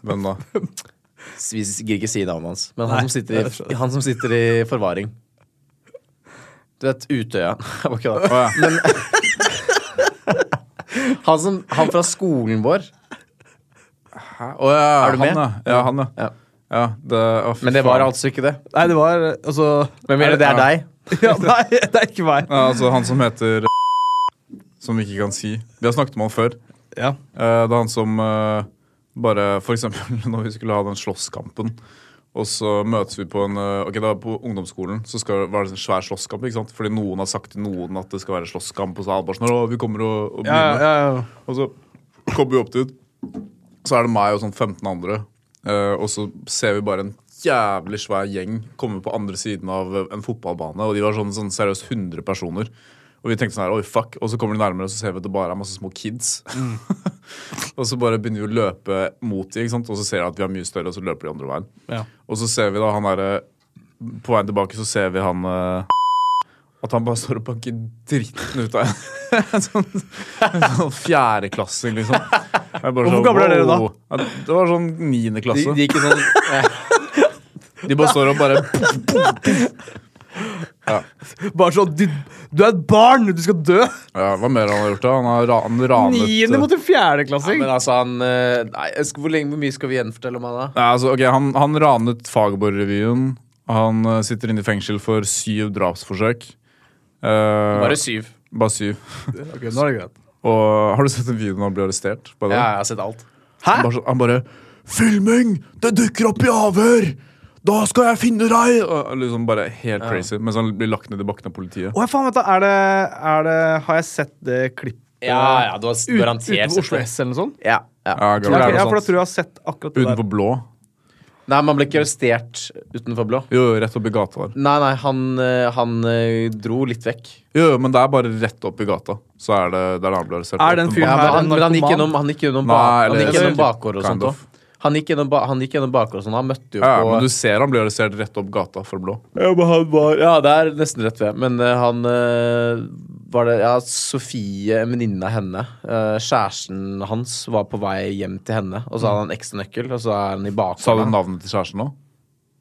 Speaker 3: Hvem da?
Speaker 1: Vi gidder ikke si navnet hans, men han, som sitter i, han som sitter i forvaring. Du vet Utøya. Jeg bare kødder.
Speaker 3: Å, ja.
Speaker 1: Han, som, han fra skolen vår.
Speaker 3: Å, ja,
Speaker 1: Er du med?
Speaker 3: Han, ja. ja, han, ja.
Speaker 1: Ja.
Speaker 3: ja det, å, fy
Speaker 1: Men det var
Speaker 3: faen.
Speaker 1: altså ikke det.
Speaker 2: Nei, det var altså
Speaker 1: Men mener det er
Speaker 3: Ja.
Speaker 1: deg?
Speaker 2: ja, Nei, det er ikke meg.
Speaker 3: ja, altså, Han som heter Som vi ikke kan si. Vi har snakket om han før.
Speaker 2: Ja.
Speaker 3: Eh, Det er han som eh, bare For eksempel når vi skulle ha den slåsskampen. Og så møtes vi på en eh, Ok, da på ungdomsskolen så skal, var det en svær slåsskamp. ikke sant? Fordi noen har sagt til noen at det skal være slåsskamp, og så er alle bare sånn Å, vi kommer og, og
Speaker 2: Ja,
Speaker 3: begynner.
Speaker 2: ja, ja.
Speaker 3: Og så kommer vi opp dit. Så er det meg og sånn 15 andre. eh, og så ser vi bare en jævlig svær gjeng komme på andre siden av eh, en fotballbane. Og de var sånn, sånn seriøst 100 personer. Og vi tenkte sånn her, oi fuck, og så kommer de nærmere, og så ser vi at det bare er masse små kids. og så bare begynner vi å løpe mot de, ikke sant? og så ser de at vi er mye større, og så løper de andre veien.
Speaker 2: Ja.
Speaker 3: Og så ser vi da han derre På veien tilbake så ser vi han eh, At han bare står og banker dritten ut av en. en sånn, en sånn fjerdeklassing, liksom. Jeg er bare
Speaker 2: Hvor gamle er dere da?
Speaker 3: wow. Ja, det var sånn niende
Speaker 1: De,
Speaker 3: klasse.
Speaker 1: de gikk i sånn
Speaker 3: De bare står og bare
Speaker 2: Bare sånn du, du er et barn! Du skal dø!
Speaker 3: Ja, Hva mer han har gjort? da? Han har ra- han ranet
Speaker 2: Niende mot en
Speaker 1: Ja,
Speaker 2: fjerdeklassing!
Speaker 1: men altså, han eh, Nei, jeg skal, hvor, lenge, hvor mye skal vi gjenfortelle om han, da?
Speaker 3: Nei, altså, ok, han, han ranet Fagerborg-revyen. Han eh, sitter inne i fengsel for syv drapsforsøk. Eh,
Speaker 1: Bare syv.
Speaker 3: bare syv.
Speaker 2: Ok, nå er det greit.
Speaker 3: Og har du sett den videoen han ble arrestert? by
Speaker 1: Ja,
Speaker 3: the way?
Speaker 1: jeg har sett alt.
Speaker 2: Hæ?
Speaker 3: Han bare, sånn- han bare 'Filming! Det dukker opp i avhør! Da skal jeg finne deg!' Og liksom bare helt crazy. Mens han blir lagt ned i bakken av politiet.
Speaker 2: Å, ja, faen, vent da. Er det, er det Har jeg sett det klippet
Speaker 1: Ja, ja, du har s-
Speaker 2: ut,
Speaker 1: garantert
Speaker 2: utenfor
Speaker 1: sett
Speaker 2: Oslo
Speaker 1: det.
Speaker 2: S eller noe sånt?
Speaker 1: Ja, ja.
Speaker 3: Ja,
Speaker 2: Ja, ok,
Speaker 3: garantert.
Speaker 2: ja, for da tror jeg jeg har sett akkurat det
Speaker 3: sånn. Utenfor
Speaker 2: der.
Speaker 3: blå.
Speaker 1: Nei, man ble ikke arrestert utenfor blå.
Speaker 3: Jo, jo, rett opp i gata der.
Speaker 1: Nei, nei, han, eh, han eh, dro litt vekk.
Speaker 3: Jo, jo, men det er bare rett opp i gata. Så er det der han ble arrestert.
Speaker 2: Er den
Speaker 3: Åpenbart.
Speaker 2: fyren
Speaker 1: Ja, men
Speaker 2: her
Speaker 1: han,
Speaker 2: en
Speaker 1: men han gikk
Speaker 2: narkoman?
Speaker 1: gjennom, han gikk gjennom, ba,
Speaker 3: Nei,
Speaker 1: han
Speaker 3: eller-
Speaker 1: gikk gjennom
Speaker 3: eller-
Speaker 1: bakgård og
Speaker 3: kind
Speaker 1: sånt
Speaker 3: of.
Speaker 1: òg. Han gikk gjennom, ba- han gikk gjennom bakgård og sånn. Han møtte jo
Speaker 3: Ja,
Speaker 1: på
Speaker 3: men du ser han blir arrestert rett opp gata for blå.
Speaker 1: ja, men han var, ja, det er nesten rett ved. Men eh, han eh, var det Ja, Sofie, en venninne av henne, eh, kjæresten hans, var på vei hjem til henne. Og så hadde han ekstra nøkkel, og så er han i
Speaker 3: Sa du
Speaker 1: bakgården.
Speaker 3: navnet til kjæresten nå?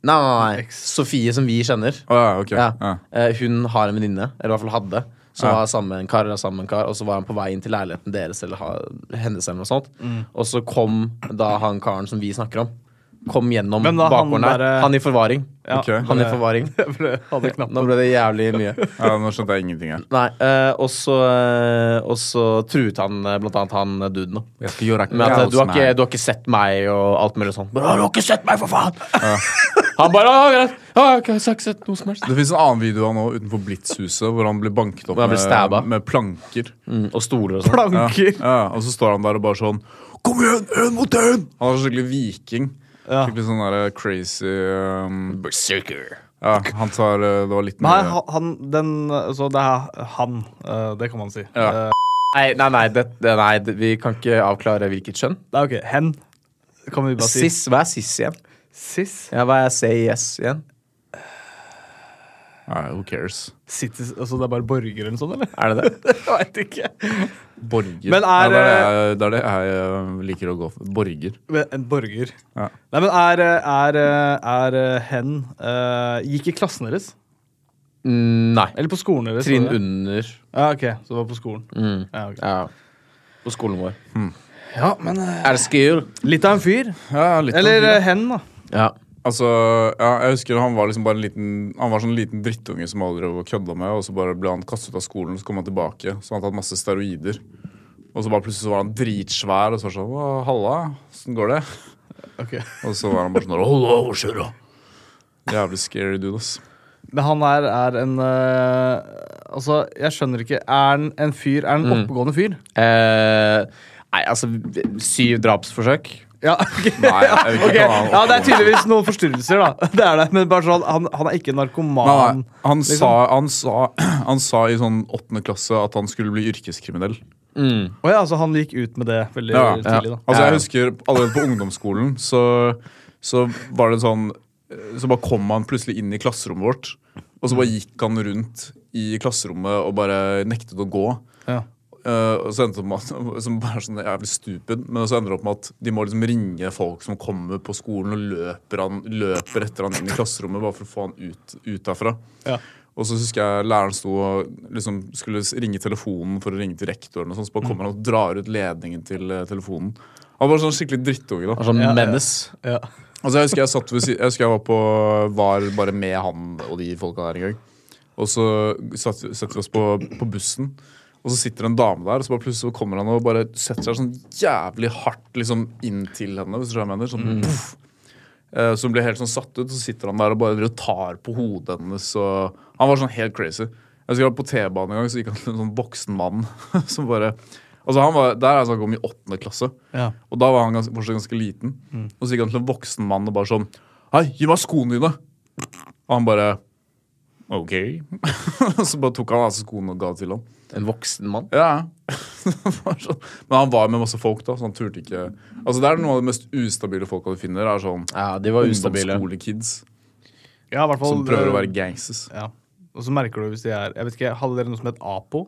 Speaker 1: Nei, nei, nei. Sofie, som vi kjenner,
Speaker 3: Å ja, ok.
Speaker 1: ja.
Speaker 3: Ja.
Speaker 1: eh, hun har en venninne, eller i hvert fall hadde, som
Speaker 3: Ja.
Speaker 1: var sammen med en kar, eller sammen med en kar, og så var han på vei inn til leiligheten deres eller ha, hennes, eller noe sånt. Og så kom da han karen som vi snakker om, kom gjennom
Speaker 2: Hvem da? Han
Speaker 1: bakgården her.
Speaker 2: derre-
Speaker 1: Han i forvaring.
Speaker 2: Ja,
Speaker 3: Ok.
Speaker 1: Han i forvaring.
Speaker 2: jeg hadde knapt
Speaker 1: Nå ble det jævlig mye.
Speaker 3: ja, Nå skjønte jeg ingenting her.
Speaker 1: Nei, eh, og så eh, Og så truet han eh, blant annet han eh, duden nå.
Speaker 3: Jeg skal gjøre
Speaker 1: Men at, eh, du, har ikke, du har ikke sett meg og alt mulig sånn. Bare, du har ikke sett meg, for faen! Han bare «Å, greit. Å, ok, jeg har ikke sett noe som helst.
Speaker 3: Det fins en annen video av han òg, utenfor Blitzhuset, hvor han blir banket opp
Speaker 1: Hvor han blir
Speaker 3: med,
Speaker 1: stabba.
Speaker 3: med planker.
Speaker 1: Mm, og stoler og sånn.
Speaker 3: Ja,
Speaker 2: planker.
Speaker 3: ja, og så står han der og bare sånn Kom igjen, en mot en! Han er skikkelig viking.
Speaker 2: Ja.
Speaker 3: Skikkelig sånn der crazy um, Ja, han tar eh, Det var litt
Speaker 2: Men her,
Speaker 3: mye-
Speaker 2: ha- han, den Så det er han. eh, Det kan man si.
Speaker 3: Ja.
Speaker 2: Eh,
Speaker 1: Nei, nei, nei, det, det, nei det, vi kan ikke avklare hvilket kjønn.
Speaker 2: Det er ok. Hen. Kan vi bare si.
Speaker 1: Sis, Hva er sis igjen?
Speaker 2: Sis.
Speaker 1: Ja, hva er CIS igjen?
Speaker 3: Nei, Who cares?
Speaker 2: Citiz, altså det er bare borgere eller noe sånt, eller?
Speaker 1: Er det det?
Speaker 2: Jeg vet ikke.
Speaker 3: Borger.
Speaker 2: Men er, eh,
Speaker 3: ja, det, er, det jeg- det er det jeg eh, liker å gå for. Borger.
Speaker 2: Men En borger.
Speaker 3: Ja.
Speaker 2: Nei, men er, er, er hen eh, Gikk i klassen deres?
Speaker 1: Mm, nei.
Speaker 2: Eller på skolen deres?
Speaker 1: Trinn
Speaker 2: var det?
Speaker 1: under.
Speaker 2: Ja, ok, Så det var på skolen.
Speaker 1: Mm.
Speaker 2: Ja, ok.
Speaker 1: Ja. På skolen vår.
Speaker 2: ja men eh,
Speaker 1: Er det skill?
Speaker 2: Litt av en fyr.
Speaker 3: Ja, litt sånn- av
Speaker 2: Eller
Speaker 3: det.
Speaker 2: eh, hen, da.
Speaker 1: Ja.
Speaker 3: Altså, ja, jeg husker han var liksom bare en liten Han var sånn liten drittunge som alle drev og kødda med, og så bare ble han kastet ut av skolen, så kom han tilbake, så han hadde tatt masse steroider. Og så bare plutselig så var han dritsvær, og så var det sånn «Å, Halla, åssen går det?
Speaker 2: Ok.
Speaker 3: Og så var han bare sånn Halla, hva skjer da? Jævlig scary dude, ass.
Speaker 2: Men han er, er en eh, Altså, jeg skjønner ikke. Er han en
Speaker 3: Mm.
Speaker 2: fyr? Er han en oppegående fyr?
Speaker 1: Eh, nei, altså Syv drapsforsøk.
Speaker 2: Ja, ok.
Speaker 3: Nei, jeg vet
Speaker 2: Ok,
Speaker 3: ikke hva han-
Speaker 2: ja, det er tydeligvis noen forstyrrelser, da. Det er det, men bare sånn, han, han er ikke
Speaker 3: Nei,
Speaker 2: narkoman.
Speaker 3: nei. Han,
Speaker 2: liksom.
Speaker 3: sa, han, sa, han sa i sånn åttende klasse at han skulle bli yrkeskriminell.
Speaker 2: Å ja, altså, han gikk ut med det veldig
Speaker 3: Ja, ja.
Speaker 2: tidlig, da.
Speaker 3: Altså
Speaker 1: Ja, ja.
Speaker 3: Jeg husker allerede på ungdomsskolen så, så var det en sånn Så bare kom han plutselig inn i klasserommet vårt. Og så bare gikk han rundt i klasserommet og bare nektet å gå.
Speaker 2: Ja.
Speaker 3: Eh, og så endte det opp med at Som bare er sånn jævlig stupid Men så ender det opp med at de må liksom ringe folk som kommer på skolen, og løper, han, løper etter han inn i klasserommet bare for å få han ut, ut derfra.
Speaker 2: Ja.
Speaker 3: Og så husker jeg læreren sto og liksom skulle s- ringe telefonen for å ringe til rektoren. og sånn, Så bare kommer han og drar ut ledningen til eh, telefonen. Han var sånn skikkelig drittunge. da.
Speaker 1: Han er sånn menes.
Speaker 2: Ja.
Speaker 3: Altså Jeg husker jeg, satt ved, si- jeg husker jeg var på var bare med han og de folka der en gang. Og så satt, setter vi oss på, på bussen, og så sitter en dame der. Og så bare plutselig så kommer han og bare setter seg sånn jævlig hardt liksom inn til henne. Hvis du skjønner hva jeg mener sånn, puff. Eh, Så hun blir helt sånn satt ut, så sitter han der og bare driver og tar på hodet hennes. Og han var sånn helt crazy. Jeg husker jeg var på T-banen en gang, så gikk han til en sånn voksen mann som bare Altså han var, Der er jeg snakk om i åttende klasse.
Speaker 2: Ja.
Speaker 3: Og da var han ganske, fortsatt ganske liten.
Speaker 2: Mm.
Speaker 3: Og så gikk han til en voksen mann og bare sånn Hei, gi meg skoene dine! Og han bare OK. Og så bare tok han av seg skoene og ga til ham.
Speaker 1: En voksen mann.
Speaker 3: Ja. Det var sånn. Men han var med masse folk, da, så han turte ikke Altså Det er noe av det mest ustabile folka du finner. er sånn
Speaker 1: Ja, de var ustabile.
Speaker 3: Ungdomsskolekids
Speaker 2: ja, i hvert fall eh,
Speaker 3: som prøver å være gangsters.
Speaker 2: Ja. Og så merker du hvis de er Jeg vet ikke, Hadde dere noe som het Apo?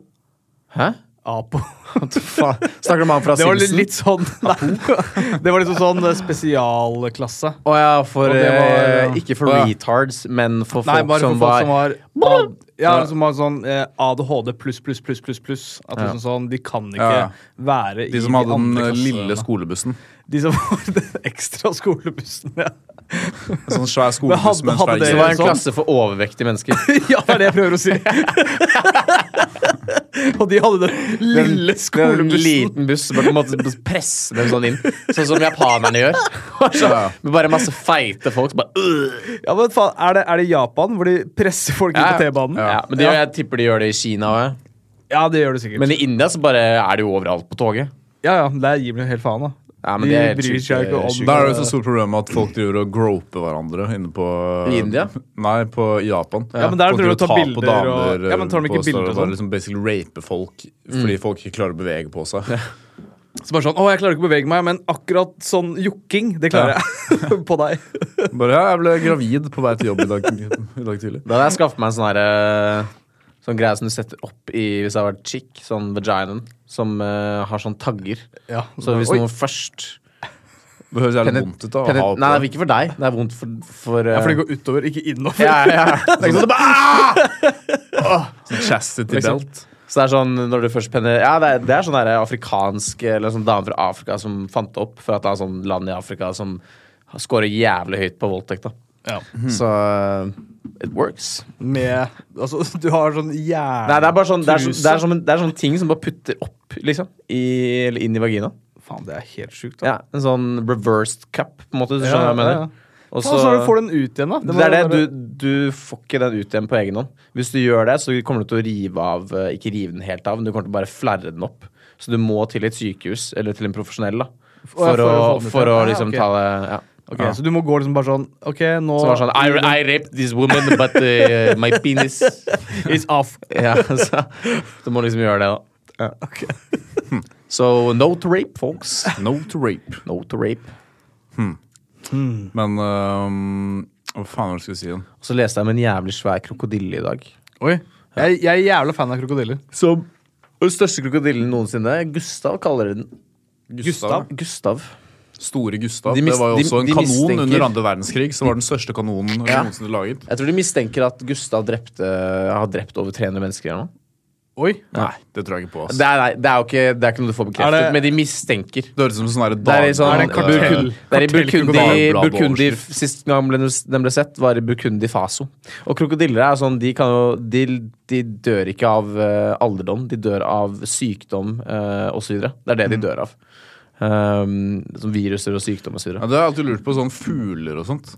Speaker 1: Hæ?
Speaker 2: Apo.
Speaker 1: Faen. Snakker du om han fra
Speaker 2: Det var litt,
Speaker 1: Simpson?
Speaker 2: litt sånn Nei. Det var liksom sånn eh, spesialklasse.
Speaker 1: Å ja, for
Speaker 2: Og det var,
Speaker 1: eh,
Speaker 2: ja.
Speaker 1: Ikke for
Speaker 3: Å ja.
Speaker 1: retards, men for folk
Speaker 2: Nei, bare
Speaker 1: som
Speaker 2: for folk
Speaker 1: var
Speaker 2: som var ad, Ja, som var sånn eh, ADHD pluss, pluss, pluss, pluss, pluss. At liksom sånn, De kan ikke
Speaker 3: Ja.
Speaker 2: være
Speaker 3: De som
Speaker 2: i
Speaker 3: hadde
Speaker 2: de
Speaker 3: den
Speaker 2: andre
Speaker 3: eh, lille
Speaker 2: klassene.
Speaker 3: skolebussen.
Speaker 2: De som var den ekstra skolebussen, ja.
Speaker 3: En sånn svær
Speaker 2: Men
Speaker 3: skolebuss
Speaker 2: hadde-
Speaker 3: med en
Speaker 2: hadde
Speaker 3: svær
Speaker 2: dere
Speaker 1: Det
Speaker 3: gjeng.
Speaker 1: var en
Speaker 2: sånn.
Speaker 1: klasse for overvektige mennesker.
Speaker 2: ja, det er det jeg prøver å si. Og de hadde den lille
Speaker 1: En
Speaker 2: skolebussen.
Speaker 1: liten buss. Bare måtte presse dem sånn inn. Sånn som japanerne gjør. Med bare masse feite folk som bare øh.
Speaker 2: Ja, men faen, er det, er det Japan hvor de presser folk inn på T-banen?
Speaker 1: Ja, men det, gjør- Jeg tipper de gjør det i Kina òg.
Speaker 2: Ja, det gjør det sikkert.
Speaker 1: Men i India så bare er det jo overalt på toget.
Speaker 2: ja, ja, der gir de helt faen, da.
Speaker 1: Ja, men
Speaker 2: de
Speaker 1: det er helt
Speaker 2: bryr
Speaker 1: sjukt,
Speaker 2: seg
Speaker 1: det
Speaker 2: ikke
Speaker 1: er
Speaker 2: om
Speaker 1: sjukt.
Speaker 3: Da er det jo så stort problem at folk driver og groper hverandre inne på
Speaker 1: I India?
Speaker 3: Nei, på i Japan.
Speaker 2: Ja, men der
Speaker 3: Folk
Speaker 2: driver de og tar
Speaker 3: tar på
Speaker 2: bilder og-
Speaker 3: damer,
Speaker 2: Ja, men tar de ikke
Speaker 3: på steder
Speaker 2: bilder og
Speaker 3: bare
Speaker 2: sånn? Mm.
Speaker 3: Liksom basically rape folk fordi folk ikke klarer å bevege på seg.
Speaker 2: Så bare sånn, å, jeg klarer ikke å bevege meg, men akkurat sånn jokking, det klarer jeg. på deg.
Speaker 3: Bare ja, jeg ble gravid på vei til jobb i dag, i dag tidlig.
Speaker 1: Da hadde jeg skaffet meg en sånn herre Sånn greie som du setter opp i hvis jeg har vært chick, sånn vaginaen, som eh, har sånn tagger.
Speaker 2: Ja,
Speaker 1: Så hvis
Speaker 2: Oi.
Speaker 1: noen først
Speaker 3: Det høres jævlig
Speaker 1: penet-
Speaker 3: vondt ut da, å
Speaker 1: penet-
Speaker 3: ha oppå.
Speaker 1: Nei, det er ikke for deg. Det er vondt for, for
Speaker 2: Ja, for det
Speaker 1: eh,
Speaker 2: går utover, ikke innover.
Speaker 1: ja, ja, ja. Det er ikke sånn at det bare,
Speaker 3: Chastity
Speaker 1: liksom.
Speaker 3: belt.
Speaker 1: Så det er sånn når du først penner Ja, det er, det er sånn der afrikansk Eller sånn dame fra Afrika som fant det opp for at det er sånn land i Afrika som scorer jævlig høyt på voldtekt, da.
Speaker 2: Ja.
Speaker 1: Så eh, it works.
Speaker 2: Med, altså, du har sånn jævlig...
Speaker 1: Nei, det er bare sånn Det er, sånn,
Speaker 2: Truse.
Speaker 1: det er, som en, det er sånn ting som bare putter opp, liksom. I, eller inn i vagina.
Speaker 2: Faen, det er helt sjukt, da.
Speaker 1: Ja, En sånn reversed cup, på en måte. Hvis du skjønner hva jeg
Speaker 2: ja,
Speaker 1: mener.
Speaker 2: ja.
Speaker 1: Og
Speaker 2: Faen, så du får den ut igjen, da.
Speaker 1: det,
Speaker 2: må
Speaker 1: er det,
Speaker 2: være-
Speaker 1: du, du får ikke den ut igjen på egen hånd. Hvis du gjør det, så kommer du til å rive av eh, Ikke rive den helt av, men du kommer til å bare flerre den opp. Så du må til et sykehus, eller til en profesjonell, da. For, å,
Speaker 2: for å få den ut
Speaker 1: for å
Speaker 2: igjen. Ja,
Speaker 1: liksom
Speaker 2: ok.
Speaker 1: ta det ja.
Speaker 2: Ok, Så du må gå liksom bare sånn Ok, nå
Speaker 1: Så var det sånn I, I raped this woman, but eh, my penis
Speaker 2: It's off.
Speaker 1: Ja, så Du må liksom gjøre det, da.
Speaker 2: Ok.
Speaker 1: So no to rape, folks.
Speaker 3: No to rape.
Speaker 1: No to rape.
Speaker 3: Men øhm, hva faen var det jeg skulle si igjen?
Speaker 1: Og så leste jeg om en jævlig svær krokodille i dag.
Speaker 2: Oi. Jeg, jeg er jævla fan av krokodiller.
Speaker 1: Som den største krokodillen noensinne. Gustav kaller den.
Speaker 3: Gustav.
Speaker 1: Gustav.
Speaker 3: Store Gustav.
Speaker 1: De mis-
Speaker 3: det var jo
Speaker 1: de-
Speaker 3: også en
Speaker 1: de
Speaker 3: kanon
Speaker 1: mistenker-
Speaker 3: under andre verdenskrig. Som var den største kanonen
Speaker 1: Ja.
Speaker 3: noensinne laget.
Speaker 1: Jeg tror de mistenker at Gustav drepte, har drept over 300 mennesker. Eller noe.
Speaker 2: Oi.
Speaker 3: Nei, det tror jeg ikke på. ass.
Speaker 1: Det, er, nei, det er jo ikke, det er ikke noe du får bekreftet,
Speaker 2: Er det-
Speaker 1: men de mistenker.
Speaker 3: Det høres ut som sånn her
Speaker 1: Det er, i
Speaker 3: dag-
Speaker 1: sånn,
Speaker 2: Er det en kartell-
Speaker 1: Burkund- det er i Burkundi,
Speaker 3: kartellkrokodille?
Speaker 1: Burkundi Sist gang ble, den ble sett, var i Burkundi Faso. Og krokodiller er sånn De, kan jo, de, de dør ikke av eh, alderdom, de dør av sykdom uh, osv. Det er det
Speaker 2: Mm.
Speaker 1: de dør av. Um, som viruser og sykdom osv.
Speaker 3: Ja, det har jeg alltid lurt på. Sånn fugler og sånt.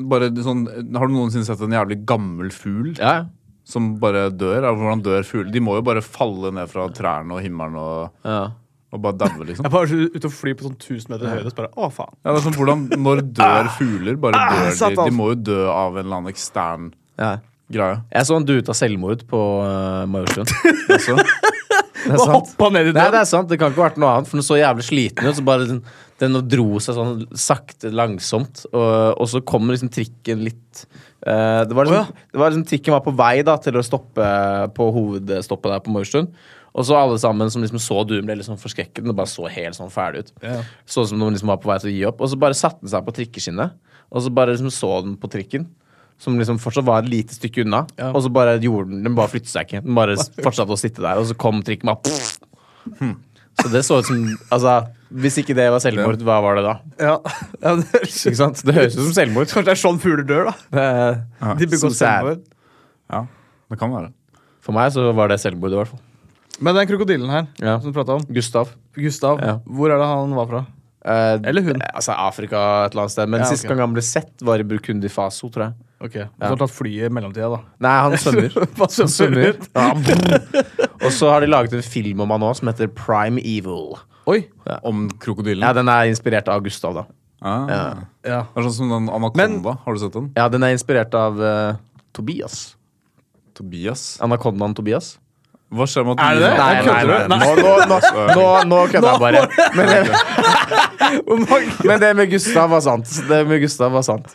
Speaker 3: Bare sånn, Har du noensinne sett en jævlig gammel fugl
Speaker 1: Ja,
Speaker 3: som bare dør? Av hvordan dør fugler? De må jo bare falle ned fra trærne og himmelen og,
Speaker 1: ja.
Speaker 3: og bare dauer, liksom.
Speaker 2: Jeg var ute og fly på sånn 1000 meter høyde og så bare Å, faen.
Speaker 3: Ja, det er sånn, hvordan, Når dør fugler? Bare dør de.
Speaker 2: satan.
Speaker 3: De må jo dø av en eller annen ekstern
Speaker 1: Ja.
Speaker 3: greie.
Speaker 1: Jeg så en due ta selvmord på uh, Majorstuen.
Speaker 3: Også.
Speaker 1: Det er sant.
Speaker 2: Hoppa ned i
Speaker 1: Nei, det
Speaker 2: den!
Speaker 1: er sant. Det kan ikke ha vært noe annet, for den så jævlig sliten ut. Så bare den, den dro seg sånn sakte, langsomt, og, og så kom liksom trikken litt eh, det, var liksom, det var liksom Trikken var på vei da til å stoppe på hovedstoppet der på Majorstuen. Og så alle sammen som liksom så duen, ble liksom forskrekket. Den bare så helt sånn ferdig ut.
Speaker 2: Ja.
Speaker 1: Sånn som den liksom var på vei til å gi opp. Og så bare satte den seg på trikkeskinnet, og så bare liksom så den på trikken. Som liksom fortsatt var et lite stykke unna. Og så bare gjorde den Den bare flyttet seg ikke. Den bare fortsatte å sitte der, og så kom trikken bare så det så ut som Altså, hvis ikke det var selvmord, hva var det da?
Speaker 2: Ja. Ja, det høres
Speaker 1: Ikke sant? Det høres ut som selvmord.
Speaker 2: Kanskje det er sånn fugler dør, da.
Speaker 1: Det,
Speaker 2: De begår
Speaker 1: Som sæd.
Speaker 2: selvmord.
Speaker 3: Ja, det kan være.
Speaker 1: for meg så var det selvmord, i hvert fall.
Speaker 2: Men den krokodillen her,
Speaker 1: Ja.
Speaker 2: som du prata om,
Speaker 1: Gustav.
Speaker 2: Gustav,
Speaker 1: Ja.
Speaker 2: hvor er det han var fra?
Speaker 1: Eh,
Speaker 2: Eller hun.
Speaker 1: Altså Afrika et eller annet sted. Men
Speaker 2: Ja,
Speaker 1: sist
Speaker 2: ok.
Speaker 1: gang han ble sett, var i Burkundi Faso, tror jeg.
Speaker 2: Ok, Du har tatt flyet i mellomtida, da.
Speaker 1: Nei, han svømmer.
Speaker 2: Hva
Speaker 1: Han svømmer. Ja, brr. Og så har de laget en film om han òg, som heter Prime Evil.
Speaker 2: Oi!
Speaker 3: Om
Speaker 1: Ja,
Speaker 3: krokodillen.
Speaker 1: Den er inspirert av Gustav, da.
Speaker 3: Ah.
Speaker 2: Ja.
Speaker 3: Det er sånn som den anakonda. Har du sett den?
Speaker 1: Ja, den er inspirert av eh, Tobias.
Speaker 3: Tobias.
Speaker 1: Anakondaen Tobias.
Speaker 3: Hva skjer med
Speaker 2: Er
Speaker 3: at
Speaker 2: det det?
Speaker 1: Nei, nei,
Speaker 2: Jeg kødder
Speaker 1: nei,
Speaker 2: du?
Speaker 1: nei. Nå, nå, nå, nå, nå kødder jeg bare.
Speaker 2: Hvor mange-
Speaker 1: Men det med Gustav var sant. Det med Gustav var sant.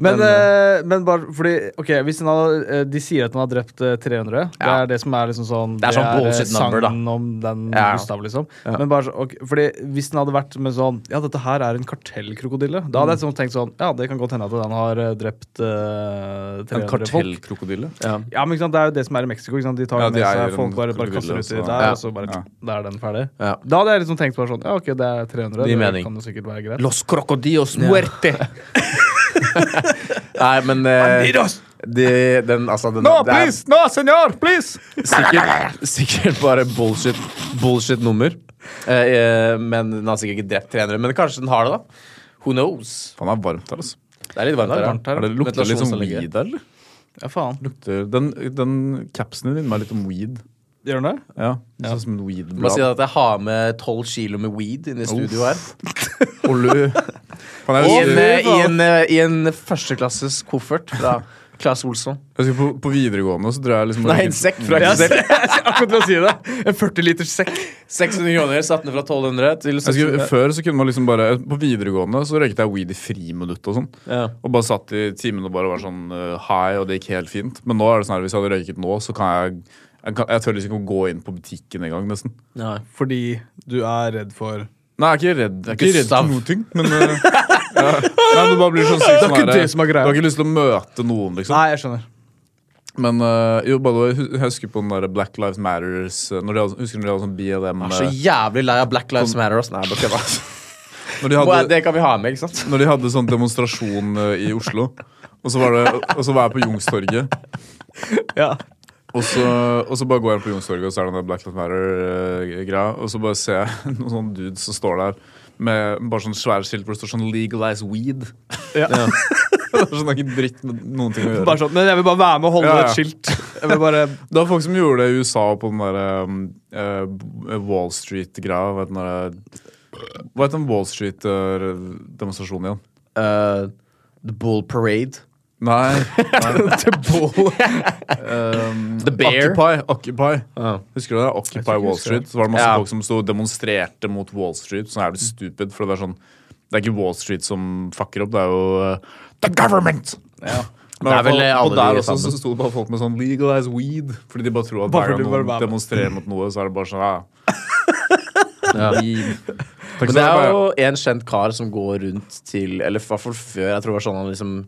Speaker 2: Men,
Speaker 1: Men,
Speaker 2: eh, men bare fordi Ok, hvis den har, eh, de sier at den har drept eh, 300 Det
Speaker 1: Ja.
Speaker 2: er det som er liksom sånn
Speaker 1: Det er sånn
Speaker 2: eh,
Speaker 1: bullshit number, da.
Speaker 2: sangen om den
Speaker 1: Ja.
Speaker 2: Gustav, liksom. Men bare så, ok, fordi Hvis den hadde vært med sånn Ja, dette her er en kartellkrokodille. Da hadde jeg
Speaker 1: Mm.
Speaker 2: sånn tenkt sånn Ja, det kan godt hende at den har eh, drept eh, 300
Speaker 3: En
Speaker 2: folk.
Speaker 3: kartellkrokodille?
Speaker 2: Ja, men ikke sant, Det er jo det som er i Mexico. Ikke sant? De tar
Speaker 3: Ja, de
Speaker 2: med seg
Speaker 3: eier en
Speaker 2: folk bare, bare
Speaker 3: krokodille,
Speaker 2: kaster uti
Speaker 3: så-
Speaker 2: der,
Speaker 1: Ja.
Speaker 2: og så bare
Speaker 3: Ja.
Speaker 2: Der er den ferdig.
Speaker 1: Ja.
Speaker 2: Da hadde jeg liksom tenkt bare sånn Ja, ok, det er 300.
Speaker 1: Gir
Speaker 2: Det
Speaker 1: mening.
Speaker 2: kan jo sikkert være greit.
Speaker 1: Los crocodillos muerte. Nei, men eh, de, den, altså, den,
Speaker 3: No,
Speaker 1: det er
Speaker 3: please! No, senor! Please!
Speaker 1: sikkert, sikkert bare bullshit, bullshit nummer. Eh, eh, men den har sikkert ikke drept 300. Men kanskje den har det, da. Who knows?
Speaker 3: Faen, det er varmt her, altså.
Speaker 1: Det er litt varmt her.
Speaker 2: varmt her.
Speaker 3: Er det lukter litt sånn
Speaker 1: Ventilasjonsanlegget.
Speaker 3: weed her, eller?
Speaker 2: Ja, faen.
Speaker 3: Lukter- Den, den capsen din minner litt om weed.
Speaker 2: Gjør den det?
Speaker 3: Ja, det Sånn som en weed-blad.
Speaker 1: Bare si at jeg har med 12 kilo med weed inn i studio her.
Speaker 3: Olø. Faen, jeg
Speaker 1: I
Speaker 3: husker,
Speaker 1: en, eh, i en, eh, i en førsteklasses koffert fra Claes Olsson.
Speaker 3: jeg husker på, på videregående så drar jeg liksom
Speaker 1: Nei, en sekk fra
Speaker 2: Jeg
Speaker 1: Excel.
Speaker 2: skulle akkurat til å si det. En 40 liters sekk.
Speaker 1: 600 kroner, satt ned fra 1200 til
Speaker 3: jeg husker,
Speaker 1: 600.
Speaker 3: Før så kunne man liksom bare På videregående så røyket jeg weed i friminutt og sånn.
Speaker 1: Ja.
Speaker 3: Og bare satt i timen og bare var sånn eh, high, og det gikk helt fint. Men nå er det sånn her, hvis jeg hadde røyket nå, så kan jeg Jeg, kan, jeg tør liksom ikke å gå inn på butikken engang, nesten.
Speaker 1: Nei.
Speaker 2: Fordi du er redd for
Speaker 3: Nei, jeg er ikke redd Jeg er ikke redd
Speaker 1: Gustav.
Speaker 3: for noe ting, men eh, ja. Nei, du bare blir sånn sykt
Speaker 2: Det er
Speaker 3: sånn
Speaker 2: ikke
Speaker 3: her, eh,
Speaker 2: det som er greia.
Speaker 3: Du har ikke lyst til å møte noen, liksom.
Speaker 2: Nei, jeg skjønner.
Speaker 3: Men eh, jo, by the way, hu- jeg husker på den der Black Lives Matters eh, når de, hadde- Husker du når de hadde sånn BLM
Speaker 1: Jeg er så
Speaker 3: eh,
Speaker 1: jævlig lei av Black Lives Matter. ass. Nei, bare kødda.
Speaker 3: når, de
Speaker 1: Hva er-
Speaker 3: hadde,
Speaker 1: Det kan vi ha med, ikke sant?
Speaker 3: når de hadde sånn demonstrasjon eh, i Oslo, og så var, det, og så var jeg på Youngstorget.
Speaker 2: Ja.
Speaker 3: Og så, og så bare går jeg på Youngstorget, og så er det den der Black Lives Matter-greia. og så bare ser jeg noen sånne dudes som står der med bare sånn svære skilt hvor det står sånn 'Legalize weed'.
Speaker 2: Ja.
Speaker 3: det er sånn det er ikke dritt med noen ting å gjøre.
Speaker 2: Bare sånn, men jeg vil bare være med og holde
Speaker 3: Ja, ja.
Speaker 2: et skilt. Jeg vil bare
Speaker 3: Det var folk som gjorde det i USA på den der um, eh, B- Wall Street-greia. Hva heter den der, Hva heter den Wall Street-demonstrasjonen igjen?
Speaker 1: Eh, the Bull Parade.
Speaker 3: Nei. Um,
Speaker 1: The Bull The Bear.
Speaker 3: Occupy. Occupy.
Speaker 1: Ja.
Speaker 3: Husker du det? Occupy
Speaker 2: ikke jeg
Speaker 3: Wall
Speaker 2: husker
Speaker 3: Street. Så var det masse
Speaker 1: Ja.
Speaker 3: folk som stod og demonstrerte mot Wall Street. Sånn
Speaker 2: Mm.
Speaker 3: jævlig stupid, for det var sånn Det er ikke Wall Street som fucker opp, det er jo eh, The government! Men
Speaker 1: Det er
Speaker 3: i hvert fall-
Speaker 1: vel alle
Speaker 3: og der
Speaker 1: de
Speaker 3: også
Speaker 1: sammen.
Speaker 3: så sto det bare folk med sånn 'legalize weed'. Fordi de bare tror at
Speaker 2: Bare fordi
Speaker 3: hver gang
Speaker 2: de bare
Speaker 3: noen
Speaker 2: bare-
Speaker 3: demonstrerer mot noe, så er det bare sånn ja.
Speaker 1: Ja.
Speaker 3: Weed. Takk
Speaker 1: Men det
Speaker 3: skal du ha.
Speaker 1: er jo en kjent kar som går rundt til Eller i hvert fall før. Jeg tror det var sånn han liksom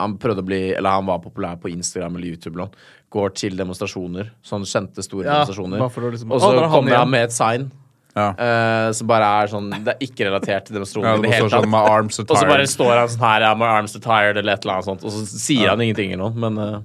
Speaker 1: Han prøvde å bli Eller han var populær på Instagram eller YouTube. eller noe. Går til demonstrasjoner. Sånn kjente, store
Speaker 2: Ja,
Speaker 1: demonstrasjoner.
Speaker 2: bare for å liksom-
Speaker 1: Og
Speaker 2: Å, der
Speaker 1: så
Speaker 2: er han
Speaker 1: kommer
Speaker 2: igjen.
Speaker 1: han med et sign.
Speaker 3: Ja.
Speaker 1: eh, som bare er sånn Det er ikke relatert til
Speaker 3: Ja,
Speaker 1: demonstrasjonen. i det
Speaker 3: det står
Speaker 1: hele
Speaker 3: sånn
Speaker 1: tatt.
Speaker 3: med arms
Speaker 1: Og så bare
Speaker 3: attired.
Speaker 1: står han sånn her, ja, my arms are tired, eller et eller annet sånt. Og så sier han ingenting eller noe, men eh,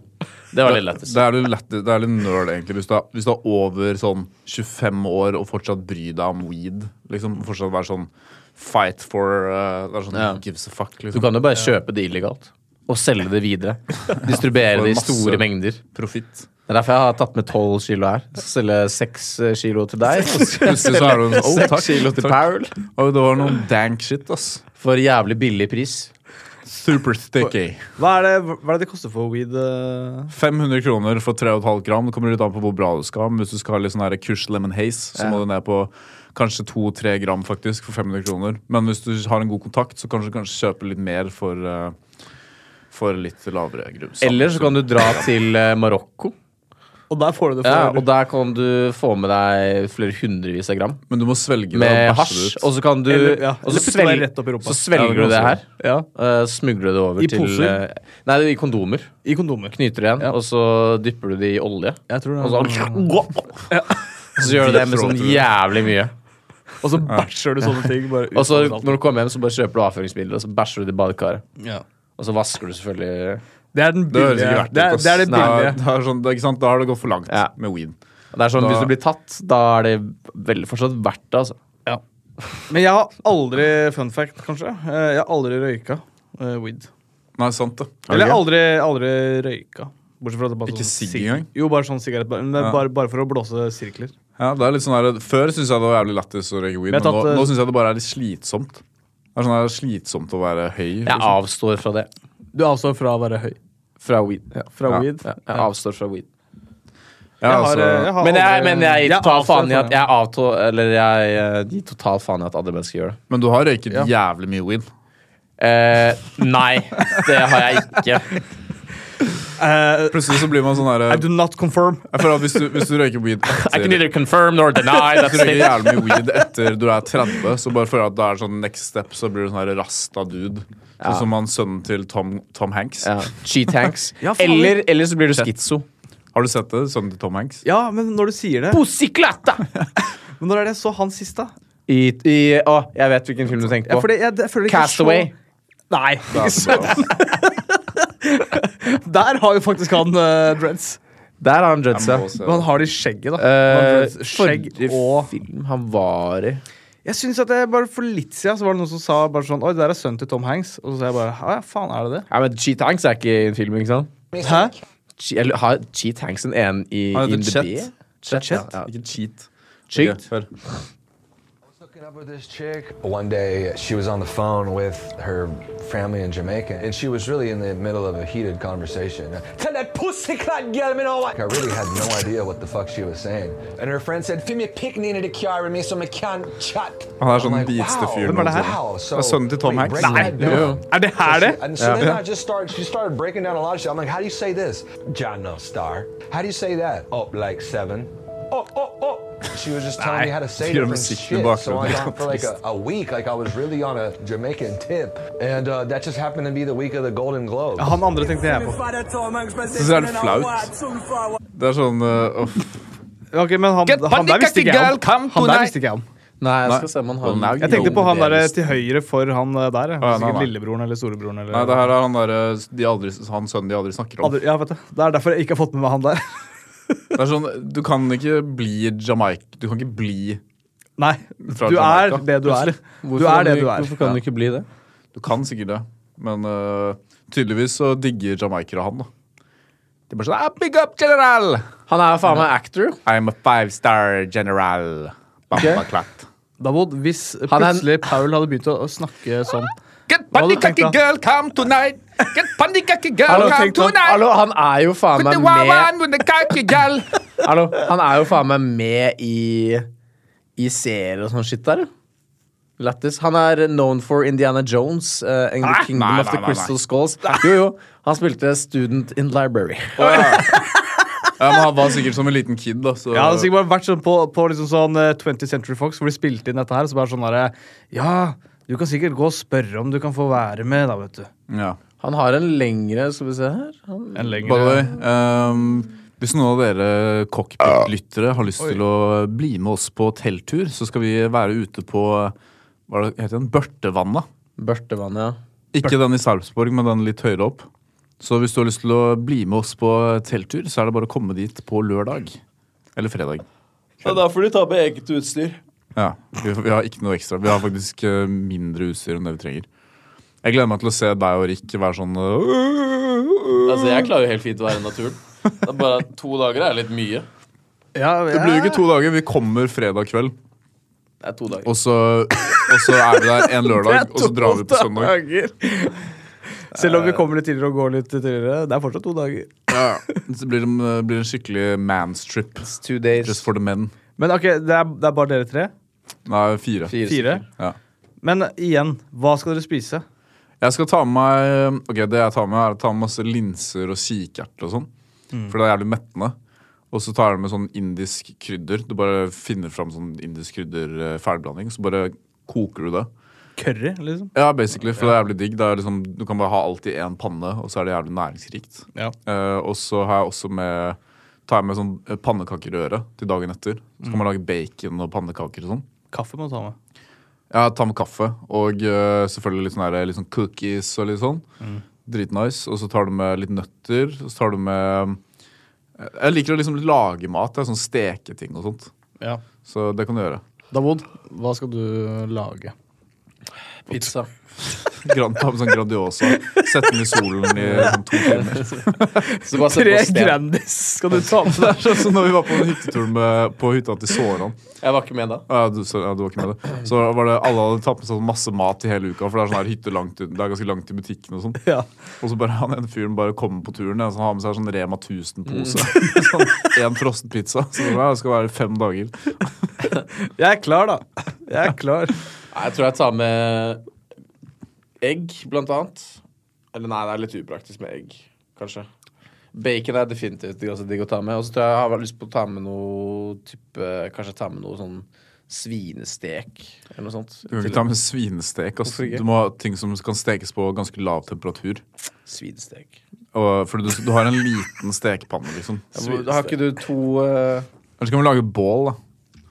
Speaker 1: det var litt lettest.
Speaker 3: Det er litt, lett, det er litt nerd, egentlig. Hvis du, er, hvis du er over sånn 25 år og fortsatt bryr deg om weed. Liksom Fortsatt være sånn fight for uh, Det er sånn
Speaker 1: Ja.
Speaker 3: gives a fuck,
Speaker 1: Du
Speaker 3: liksom.
Speaker 1: kan jo bare kjøpe det illegalt og selge det videre. Distribuere
Speaker 3: For
Speaker 1: det i
Speaker 3: masse.
Speaker 1: store mengder.
Speaker 3: Profitt.
Speaker 1: Det er derfor jeg har tatt med 12 kilo her. Så selge 6 eh, kilo til deg. Og så
Speaker 3: Plutselig så er det en, oh,
Speaker 1: selge 6
Speaker 3: takk,
Speaker 1: kilo til
Speaker 3: takk.
Speaker 1: Paul.
Speaker 3: Oi, det var noen dank shit, ass.
Speaker 1: For jævlig billig pris.
Speaker 3: Super sticky.
Speaker 2: Hva er det, hva er det det koster for weed? eh?
Speaker 3: 500 kroner for 3,5 gram. Det kommer litt an på hvor bra du skal. Men hvis du skal ha litt sånn her Kush Lemon Haze, så må du ned på kanskje 2-3 gram faktisk for 500 kroner. Men hvis du har en god kontakt, så kanskje du kan kjøpe litt mer for, eh, for litt lavere grus.
Speaker 1: Eller så kan du dra til eh, Marokko.
Speaker 2: Og der får du det for
Speaker 1: Ja, og der kan du få med deg flere hundrevis av gram
Speaker 3: Men du må svelge
Speaker 1: med
Speaker 3: det og bæsje
Speaker 1: hasj.
Speaker 3: det ut.
Speaker 1: Og så kan du
Speaker 2: Eller- ja,
Speaker 1: og så,
Speaker 2: eller putte
Speaker 1: svelg-
Speaker 2: det rett opp i rumpa.
Speaker 1: så svelger
Speaker 3: Ja,
Speaker 1: du det
Speaker 3: det
Speaker 1: her.
Speaker 2: Ja,
Speaker 1: eh, smugler du det over
Speaker 2: I
Speaker 1: til
Speaker 2: poser?
Speaker 1: eh, Nei, det er i kondomer.
Speaker 2: I kondomer.
Speaker 1: Knyter det igjen, og så dypper du det i olje.
Speaker 2: Jeg tror det.
Speaker 1: Og så, så gjør du det med sånn jævlig mye.
Speaker 2: Og så bæsjer du sånne ting bare ut.
Speaker 1: Og så
Speaker 2: overalt.
Speaker 1: når du kommer hjem, så bare kjøper du avføringsmidler, og så bæsjer du det i badekaret.
Speaker 2: ja.
Speaker 1: Og så vasker du selvfølgelig
Speaker 2: Det er den
Speaker 3: Det høres ikke
Speaker 2: billige.
Speaker 3: verdt
Speaker 2: Det er,
Speaker 3: ass.
Speaker 2: det er det
Speaker 3: Nei,
Speaker 2: billige.
Speaker 3: det er sånn, det er ikke sant? Da har det gått for langt
Speaker 1: Ja.
Speaker 3: med weed.
Speaker 1: Det er sånn,
Speaker 3: Da-
Speaker 1: Hvis du blir tatt, da er det veldig fortsatt verdt det, altså.
Speaker 2: Men jeg har aldri fun fact, kanskje. eh, Jeg har aldri røyka eh, weed.
Speaker 3: Nei, sant det.
Speaker 2: Eller jeg har aldri, aldri røyka. Bortsett fra at det bare sånn
Speaker 3: Ikke sigg
Speaker 2: sig-
Speaker 3: engang?
Speaker 2: Jo, bare sånn sigarett. Bare, men
Speaker 3: Ja.
Speaker 2: bare, bare for å blåse sirkler.
Speaker 3: Ja, det er litt sånn her, Før syntes jeg det var jævlig lættis å røyke weed,
Speaker 2: Men jeg har
Speaker 3: men nå,
Speaker 2: tatt, eh,
Speaker 3: nå syns jeg det bare er litt slitsomt. Det er sånn her slitsomt å være høy. liksom.
Speaker 1: Jeg avstår fra det.
Speaker 2: Du avstår fra å være høy.
Speaker 1: Fra weed. Ja.
Speaker 2: Fra
Speaker 3: Ja,
Speaker 2: weed.
Speaker 1: Ja, jeg avstår fra weed.
Speaker 3: Ja,
Speaker 2: Jeg har,
Speaker 3: altså,
Speaker 2: eh, jeg har
Speaker 1: Men jeg,
Speaker 2: aldri-
Speaker 1: men jeg gir total
Speaker 2: avstår
Speaker 1: faen i
Speaker 2: fra
Speaker 1: at
Speaker 2: det.
Speaker 1: jeg avtå, Eller jeg eh, gir total faen i at andre mennesker gjør det.
Speaker 3: Men du har røyket
Speaker 2: Ja.
Speaker 3: jævlig mye weed.
Speaker 1: Eh, nei, det har jeg ikke.
Speaker 2: Eh,
Speaker 3: Plutselig så blir man sånn her
Speaker 2: I do not confirm.
Speaker 3: Jeg føler at hvis du, hvis du røyker weed
Speaker 1: I
Speaker 3: etter
Speaker 1: can either confirm nor deny.
Speaker 3: Hvis du
Speaker 1: That's
Speaker 3: røyker
Speaker 1: it.
Speaker 3: jævlig mye weed etter du er 30, så bare føler jeg at da er det sånn next step, så blir du sånn her rasta dude. Sånn som han sønnen til Tom, Tom Hanks.
Speaker 1: Ja. Cheat hanks.
Speaker 2: Ja, faen.
Speaker 1: Eller, eller så blir du skizzo.
Speaker 3: Har du sett det? Sønnen til Tom Hanks?
Speaker 2: Ja, men når du sier det
Speaker 1: Pussyklatta!
Speaker 2: Men når er det jeg så han sist, da?
Speaker 1: I, i, å, jeg vet hvilken film du tenker
Speaker 2: Ja,
Speaker 1: på.
Speaker 2: fordi jeg, jeg føler ikke
Speaker 1: Castaway.
Speaker 2: Så... Nei.
Speaker 3: Ja, så bra.
Speaker 2: Der har jo faktisk han eh, dreads.
Speaker 1: Der har han dreadsa.
Speaker 3: Jeg må se.
Speaker 2: Men han har de skjegget, da. Han har
Speaker 1: Eh,
Speaker 2: dreads, skjegg
Speaker 1: forrige
Speaker 2: og
Speaker 1: film han var i
Speaker 2: Jeg synes at jeg bare For litt siden så var det noen som sa bare sånn Oi, det der er sønnen til Tom Hanks. Og så sa jeg bare Å ja, faen, er det det?
Speaker 1: Ja, men Cheat Hanks er ikke i en film, ikke sant?
Speaker 2: Hæ?
Speaker 1: Che- eller har Cheat Hanks en en i
Speaker 3: Han heter
Speaker 1: In the
Speaker 3: Chet.
Speaker 1: Bee?
Speaker 3: Chet,
Speaker 1: Chet,
Speaker 3: ja.
Speaker 1: ja.
Speaker 3: Ikke cheat.
Speaker 1: Cheat?
Speaker 3: Ok, hør.
Speaker 6: hooking up with this chick. One day she was on the phone with her family in Jamaica and she was really in the middle of a heated conversation. Tell that pussy clot girl me know what. I really had no idea what the fuck she was saying. And her friend said, "Feel me picking in the car with me so me can chat."
Speaker 3: Han er sånn
Speaker 6: I'm like,
Speaker 3: beats the
Speaker 6: wow.
Speaker 3: fyren
Speaker 2: Hvem er det her?
Speaker 6: Wow, so-
Speaker 3: Det er sønnen til Tom
Speaker 6: wait,
Speaker 3: Hanks.
Speaker 6: break
Speaker 3: Nei,
Speaker 6: that
Speaker 3: jo, jo.
Speaker 6: down.
Speaker 2: Er det her det?
Speaker 6: And so then I just started, she started breaking down a lot of shit. I'm like, how do you say this? John No Star. How do you say that? Up like seven. Oh, oh, oh. She was just telling me how to say
Speaker 3: You're
Speaker 6: different
Speaker 3: sick,
Speaker 6: shit.
Speaker 3: you're
Speaker 6: So I
Speaker 3: back.
Speaker 6: got for like a, a week, like I was really on a Jamaican tip. And uh, that just happened to be the week of the Golden Globe.
Speaker 2: Han andre tenkte jeg på.
Speaker 3: Synes jeg er litt flaut. Det er sånn eh, uff.
Speaker 2: Ok, men han, han der visste ikke jeg om. Han der visste ikke jeg om.
Speaker 1: Nei, jeg
Speaker 3: Nei.
Speaker 1: skal se om han
Speaker 3: Og
Speaker 1: har
Speaker 3: now
Speaker 1: den.
Speaker 2: Jeg tenkte
Speaker 3: you
Speaker 2: på
Speaker 3: know
Speaker 2: han
Speaker 3: det er
Speaker 2: der eh,
Speaker 3: visst.
Speaker 2: til høyre for han eh, der.
Speaker 3: nei,
Speaker 2: Sikkert
Speaker 3: nei.
Speaker 2: lillebroren eller storebroren eller
Speaker 3: Nei, det her er han derre de aldri- Han sønnen de aldri snakker om.
Speaker 2: Aldri- Ja, vet du. Det er derfor jeg ikke har fått med meg han der.
Speaker 3: Det er sånn, Du kan ikke bli Jamaica Du kan ikke bli
Speaker 2: Nei.
Speaker 3: Fra
Speaker 2: Du er
Speaker 3: Jamaica.
Speaker 2: det du er. Du
Speaker 1: kan
Speaker 2: er det du er.
Speaker 1: Hvorfor kan du ikke bli det?
Speaker 3: Du kan sikkert det, men øh, tydeligvis så digger jamaicere han, da. De bare sånn ah, Big up, general!
Speaker 1: Han er jo faen meg actor.
Speaker 3: I'm a five star general. Bamba klatt.
Speaker 2: Davod, hvis
Speaker 1: Han er-
Speaker 2: plutselig Paul hadde begynt å å snakke sånn
Speaker 3: Get
Speaker 2: Hva hadde du tenkt
Speaker 3: panikaki
Speaker 2: da?
Speaker 3: girl, come tonight! Get panikaki
Speaker 1: Hallo,
Speaker 3: girl, come
Speaker 1: tenk sånn-
Speaker 3: tonight!
Speaker 1: hallo, han er jo faen meg
Speaker 3: The
Speaker 1: med
Speaker 3: wawan with the kaki girl.
Speaker 1: Hallo, Han er jo faen meg med i I serier og sånn shit der. jo. Lættis. Han er known for Indiana Jones eh, and
Speaker 3: Nei,
Speaker 1: The Kingdom
Speaker 3: nei,
Speaker 1: of the
Speaker 3: nei, nei,
Speaker 1: Crystal Skulls. Jo, jo. Han spilte Student in Library.
Speaker 3: Ja, men Han var sikkert som en liten kid, da. Så.
Speaker 2: Ja, det har sikkert bare vært sånn på, på liksom sånn eh, 20th Century Fox, hvor de spilte inn dette her. Så bare sånn derre Ja, du kan sikkert gå og spørre om du kan få være med, da, vet du.
Speaker 3: Ja.
Speaker 1: Han har en lengre Skal vi se her han,
Speaker 2: En
Speaker 3: By the way, ehm, hvis noen av dere cockpit-lyttere har lyst til å bli med oss på telttur, så skal vi være ute på hva er det- heter den? Børtevannet.
Speaker 1: Børtevann, ja.
Speaker 3: Ikke den i Sarpsborg, men den litt høyere opp. Så hvis du har lyst til å bli med oss på telttur, så er det bare å komme dit på lørdag. Eller fredag.
Speaker 1: Ja, Da får de ta med eget utstyr.
Speaker 3: Ja, vi, vi har ikke noe ekstra. Vi har faktisk eh, mindre utstyr enn det vi trenger. Jeg gleder meg til å se deg og Rick være sånn øh,
Speaker 1: Altså, Jeg klarer jo helt fint å være i naturen. Det er bare at To dager er litt mye.
Speaker 3: Det blir jo ikke to dager. Vi kommer fredag kveld,
Speaker 1: Det er to dager.
Speaker 3: og så, og så er vi der en lørdag, og så drar vi på søndag.
Speaker 2: Selv om vi kommer litt tidligere og går litt tidligere. Det er fortsatt to dager.
Speaker 3: Ja, det blir, det blir en skikkelig manstrip.
Speaker 1: Two days.
Speaker 3: Just for the men.
Speaker 2: Men ok, det er, det er bare dere tre?
Speaker 3: Nei, fire.
Speaker 1: Fire.
Speaker 2: Fire?
Speaker 3: Ja.
Speaker 2: Men igjen, hva skal dere spise?
Speaker 3: Jeg skal ta med meg Ok, det jeg tar med er å ta med masse linser og kikert og sånn. For det er jævlig mettende. Og så tar jeg med sånn indisk krydder. Du bare finner fram sånn indisk krydder eh, ferdigblanding, så bare koker du det.
Speaker 2: Curry, liksom?
Speaker 3: Ja, basically, for det er jævlig digg. Det er liksom, du kan bare ha alt i én panne, og så er det jævlig næringsrikt.
Speaker 2: Ja.
Speaker 3: Eh, og så har jeg også med tar jeg med sånn eh, pannekakerøre til dagen etter. Så kan man lage bacon og pannekaker og sånn.
Speaker 2: Kaffe må du ta med.
Speaker 3: Ja, ta med kaffe og eh, selvfølgelig litt sånn, her, litt sånn cookies og litt sånn. Dritnice. Og så tar du med litt nøtter. Og så tar du med Jeg liker å liksom lage mat. Det er sånn steketing og sånt.
Speaker 2: Ja.
Speaker 3: Så det kan du gjøre.
Speaker 7: Davod, hva skal du lage?
Speaker 1: Pizza.
Speaker 3: Gran, ta med sånn Grandiosa. Sett den i solen i sånn to timer.
Speaker 1: Så bare sett
Speaker 2: Tre
Speaker 1: på sted.
Speaker 2: Grandis skal du ta med
Speaker 3: Det er sånn som når vi var på en hyttetur med, på hytta til Såran.
Speaker 1: Jeg var ikke med da.
Speaker 3: Ja, du, så, ja, du var ikke med det. Så var det alle hadde tatt med seg sånn masse mat i hele uka, for det er sånn her hytte langt ut, det er ganske langt til butikken og sånn.
Speaker 2: Ja.
Speaker 3: Og så bare han ene fyren bare kommer på turen ja, så han har med seg sånn Rema 1000-pose. sånn en frossen pizza. Så det var- det skal være fem dager.
Speaker 2: Jeg er klar, da. Jeg er klar.
Speaker 1: Nei, Jeg tror jeg tar med egg, blant annet. Eller nei, det er litt upraktisk med egg, kanskje. Bacon er definitivt digg- også digg å ta med. Og så tror jeg jeg har lyst på å ta med noe type Kanskje ta med noe sånn svinestek eller noe sånt.
Speaker 3: Du kan ikke ta med svinestek. ass.
Speaker 1: Hvorfor ikke?
Speaker 3: Du må ha ting som kan stekes på ganske lav temperatur.
Speaker 1: Svinestek.
Speaker 3: Og, for du, du har en liten stekepanne, liksom.
Speaker 1: Ja, men Har ikke du to eh,
Speaker 3: Eller så kan vi lage bål, da.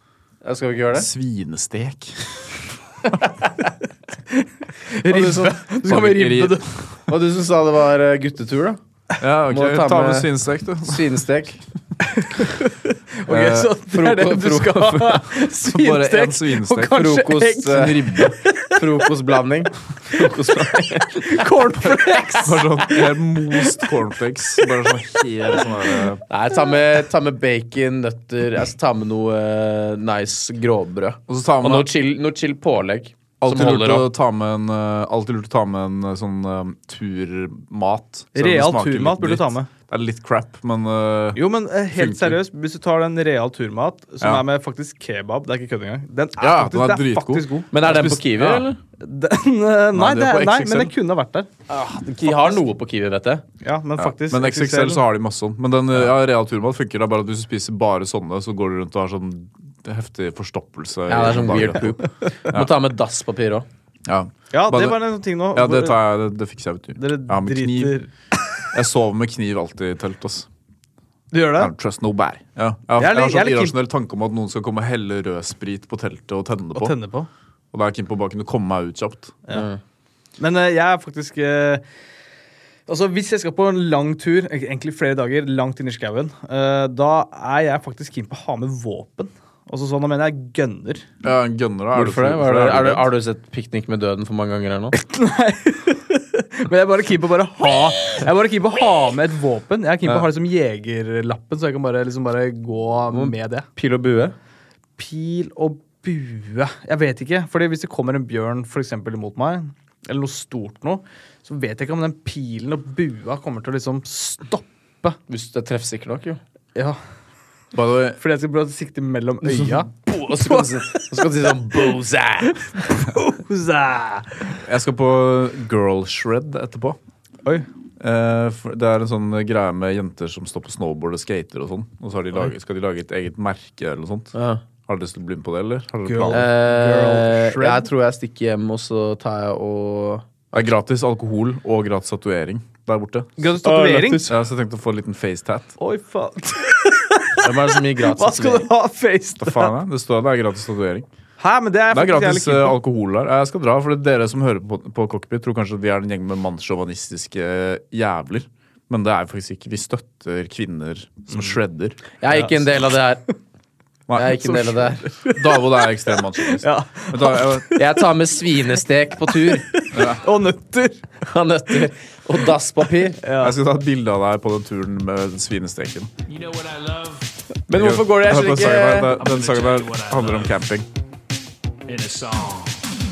Speaker 1: ja, Skal vi ikke gjøre det?
Speaker 3: Svinestek.
Speaker 2: Ribbe. Du skal med ribbe, du.
Speaker 1: Og du som sa det var eh, guttetur, da?
Speaker 3: Ja, ok.
Speaker 1: Må ta
Speaker 3: Ta med
Speaker 1: med-
Speaker 3: svinestek, du.
Speaker 1: Svinestek. Eh,
Speaker 2: Ok, så det er det du skal ha.
Speaker 3: Bare
Speaker 2: Svinestek.
Speaker 3: en svinestek.
Speaker 2: Og kanskje
Speaker 1: Frokost,
Speaker 2: egg.
Speaker 1: eh, frokostblanding. Frokostblanding.
Speaker 2: Cornflakes.
Speaker 3: Bare sånn helt most cornflakes. Bare sånn helt sånn der, eh.
Speaker 1: Nei, ta med, ta med bacon, nøtter altså, Ta med noe eh, nice grovbrød.
Speaker 3: Og så tar
Speaker 1: Og
Speaker 3: man
Speaker 1: noe chill, noe chill pålegg.
Speaker 3: Alltid
Speaker 1: som
Speaker 3: lurt,
Speaker 1: holder
Speaker 3: å
Speaker 1: opp.
Speaker 3: ta med en, eh, alltid lurt å ta med en eh, sånn eh, turmat. Selv om det
Speaker 2: Real
Speaker 3: smaker litt
Speaker 2: turmat burde du ta
Speaker 3: dritt.
Speaker 2: med.
Speaker 3: Det er litt crap, men eh,
Speaker 2: Jo, men eh, helt
Speaker 3: Funker.
Speaker 2: seriøst, hvis du tar den real turmat, som
Speaker 3: Ja.
Speaker 2: er med faktisk kebab Det er ikke kødd engang. Den er,
Speaker 3: Ja,
Speaker 2: faktisk,
Speaker 3: den er
Speaker 2: det er
Speaker 3: dritgod.
Speaker 2: faktisk god.
Speaker 1: Men er den på
Speaker 3: Spist-
Speaker 1: Kiwi,
Speaker 3: ja.
Speaker 1: eller?
Speaker 2: Den, eh, nei,
Speaker 3: det
Speaker 2: det
Speaker 3: er
Speaker 2: er,
Speaker 3: på
Speaker 2: nei,
Speaker 3: XXL.
Speaker 2: men den kunne ha vært der.
Speaker 1: De har noe på Kiwi, vet jeg.
Speaker 2: Ja, Men
Speaker 3: ja.
Speaker 2: faktisk
Speaker 3: Men XXL så har de masse sånn. Men den eh, ja, real turmat funker. Det er bare at hvis du spiser bare sånne, så går du rundt og har sånn heftig forstoppelse. i
Speaker 1: Ja, det er sånn
Speaker 3: dagen
Speaker 1: weird
Speaker 3: etterpå.
Speaker 1: poop. Må ta med dasspapir òg.
Speaker 3: Ja.
Speaker 2: Ja,
Speaker 3: Bare-
Speaker 2: det var en sånn ting nå.
Speaker 3: ja, det
Speaker 2: hvor
Speaker 3: tar jeg. Det, det fikser jeg, vet du.
Speaker 2: Dere
Speaker 3: ja, med kniv.
Speaker 2: driter
Speaker 3: Jeg sover med kniv alltid i telt, ass.
Speaker 2: Du gjør det?
Speaker 3: I don't trust nobody. Ja. Jeg,
Speaker 2: Jeg er
Speaker 3: har- jeg
Speaker 2: litt-
Speaker 3: har
Speaker 2: jeg er litt
Speaker 3: sånn
Speaker 2: keen-
Speaker 3: irrasjonell tanke om at noen skal komme og helle rødsprit på teltet og tenne det
Speaker 2: Og
Speaker 3: på.
Speaker 2: tenner på.
Speaker 3: Og da er jeg keen på å bare kunne komme meg ut kjapt.
Speaker 2: Men eh, jeg er faktisk eh, Altså, Hvis jeg skal på en lang tur, eg- egentlig flere dager, langt inn i skauen, eh, da er jeg faktisk keen på å ha med våpen. Altså sånn, Da mener jeg gønner.
Speaker 3: Ja, en gunner, da. er
Speaker 1: Hvorfor det?
Speaker 3: for-
Speaker 1: Hva er
Speaker 3: for
Speaker 1: det?
Speaker 3: det
Speaker 1: Er du,
Speaker 3: redd.
Speaker 1: har du sett 'Piknik med døden' for mange ganger her nå?
Speaker 2: Men jeg er bare keen på å bare ha Jeg er bare keen på å ha med et våpen. Jeg er keen på å ha liksom jegerlappen, så jeg kan bare, liksom bare gå med det.
Speaker 1: Pil og bue?
Speaker 2: Pil og bue Jeg vet ikke. Fordi hvis det kommer en bjørn for eksempel, imot meg, eller noe stort noe, så vet jeg ikke om den pilen og bua kommer til å liksom stoppe.
Speaker 1: Hvis du er treffsikker nok, jo.
Speaker 2: Ja,
Speaker 3: By the way,
Speaker 2: Fordi jeg skal prøve å sikte mellom øya.
Speaker 1: Og så kan du si- og så kan du si sånn boozah!
Speaker 3: jeg skal på Girl Shred etterpå.
Speaker 2: Oi.
Speaker 3: Eh, for det er en sånn greie med jenter som står på snowboard og skater og sånn. Og så har de laget, skal de lage et eget merke eller noe sånt.
Speaker 1: Ja.
Speaker 3: Har dere lyst til å bli med på det, eller? Har dere
Speaker 2: Girl.
Speaker 3: planer?
Speaker 1: Eh,
Speaker 2: Girl shred.
Speaker 1: jeg tror jeg stikker hjem, og så tar jeg og
Speaker 3: Det er gratis alkohol og gratis tatovering der borte.
Speaker 2: Gratis tatovering?
Speaker 3: Ah, Ja, så jeg tenkte å få en liten facetat.
Speaker 2: Oi, faen.
Speaker 1: Hvem er det som gir gratis
Speaker 2: Hva skal du ha, face?
Speaker 3: Hva faen er det? Det står at det er gratis tatovering.
Speaker 2: Hæ, men det er
Speaker 3: Det
Speaker 2: faktisk
Speaker 3: er gratis
Speaker 2: jævlig
Speaker 3: eh,
Speaker 2: kult.
Speaker 3: alkohol der. Jeg skal dra, for dere som hører på, på Cockpit, tror kanskje at vi er en gjeng med mannssjåvinistiske jævler.
Speaker 2: Mm.
Speaker 3: Men det er faktisk ikke. Vi støtter kvinner som shredder.
Speaker 1: Jeg er ikke en del av det her. Jeg er ikke en del av det her.
Speaker 3: Davold er ekstrem mannssjåvinist.
Speaker 2: Ja.
Speaker 3: Men da- jeg-
Speaker 1: Jeg tar med svinestek på tur
Speaker 2: Og nøtter!
Speaker 1: av nøtter og dasspapir.
Speaker 3: Jeg skal ta et bilde av deg på den turen med svinesteken.
Speaker 1: Men hvorfor går det? Jeg
Speaker 3: Hør på
Speaker 1: skjønner
Speaker 3: sangen
Speaker 1: ikke
Speaker 3: der. Den- Den sangen der handler om camping.
Speaker 8: in a song.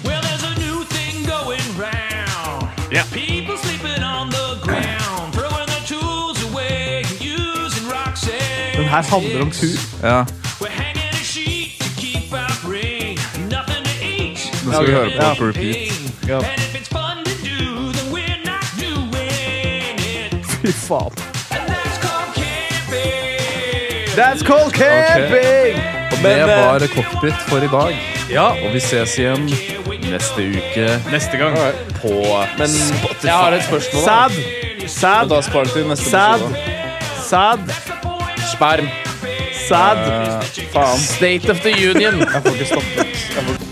Speaker 8: Well, there's a new thing going round. People sleeping on the ground, throwing their tools away, and using rocks and
Speaker 2: Den her handler om tur.
Speaker 3: Ja,
Speaker 8: We're hanging a sheet to keep out rain. Nothing to eat.
Speaker 3: Nå skal vi høre på
Speaker 2: Ja.
Speaker 3: på repeat.
Speaker 2: Ja.
Speaker 8: And if it's fun to do, then we're not doing it.
Speaker 2: Fy faen.
Speaker 8: And that's called camping.
Speaker 2: That's called camping! eh,
Speaker 3: Det var cockpit for i dag. Og vi ses igjen neste uke.
Speaker 2: Neste gang.
Speaker 3: På
Speaker 1: Men jeg har et spørsmål. da.
Speaker 2: Sad. Sad.
Speaker 3: Da sparer vi til neste
Speaker 2: Sad.
Speaker 3: episode.
Speaker 2: Sad.
Speaker 1: Sperm.
Speaker 2: Sad.
Speaker 1: State of the Union.
Speaker 3: Jeg får ikke stoppet. Jeg får ikke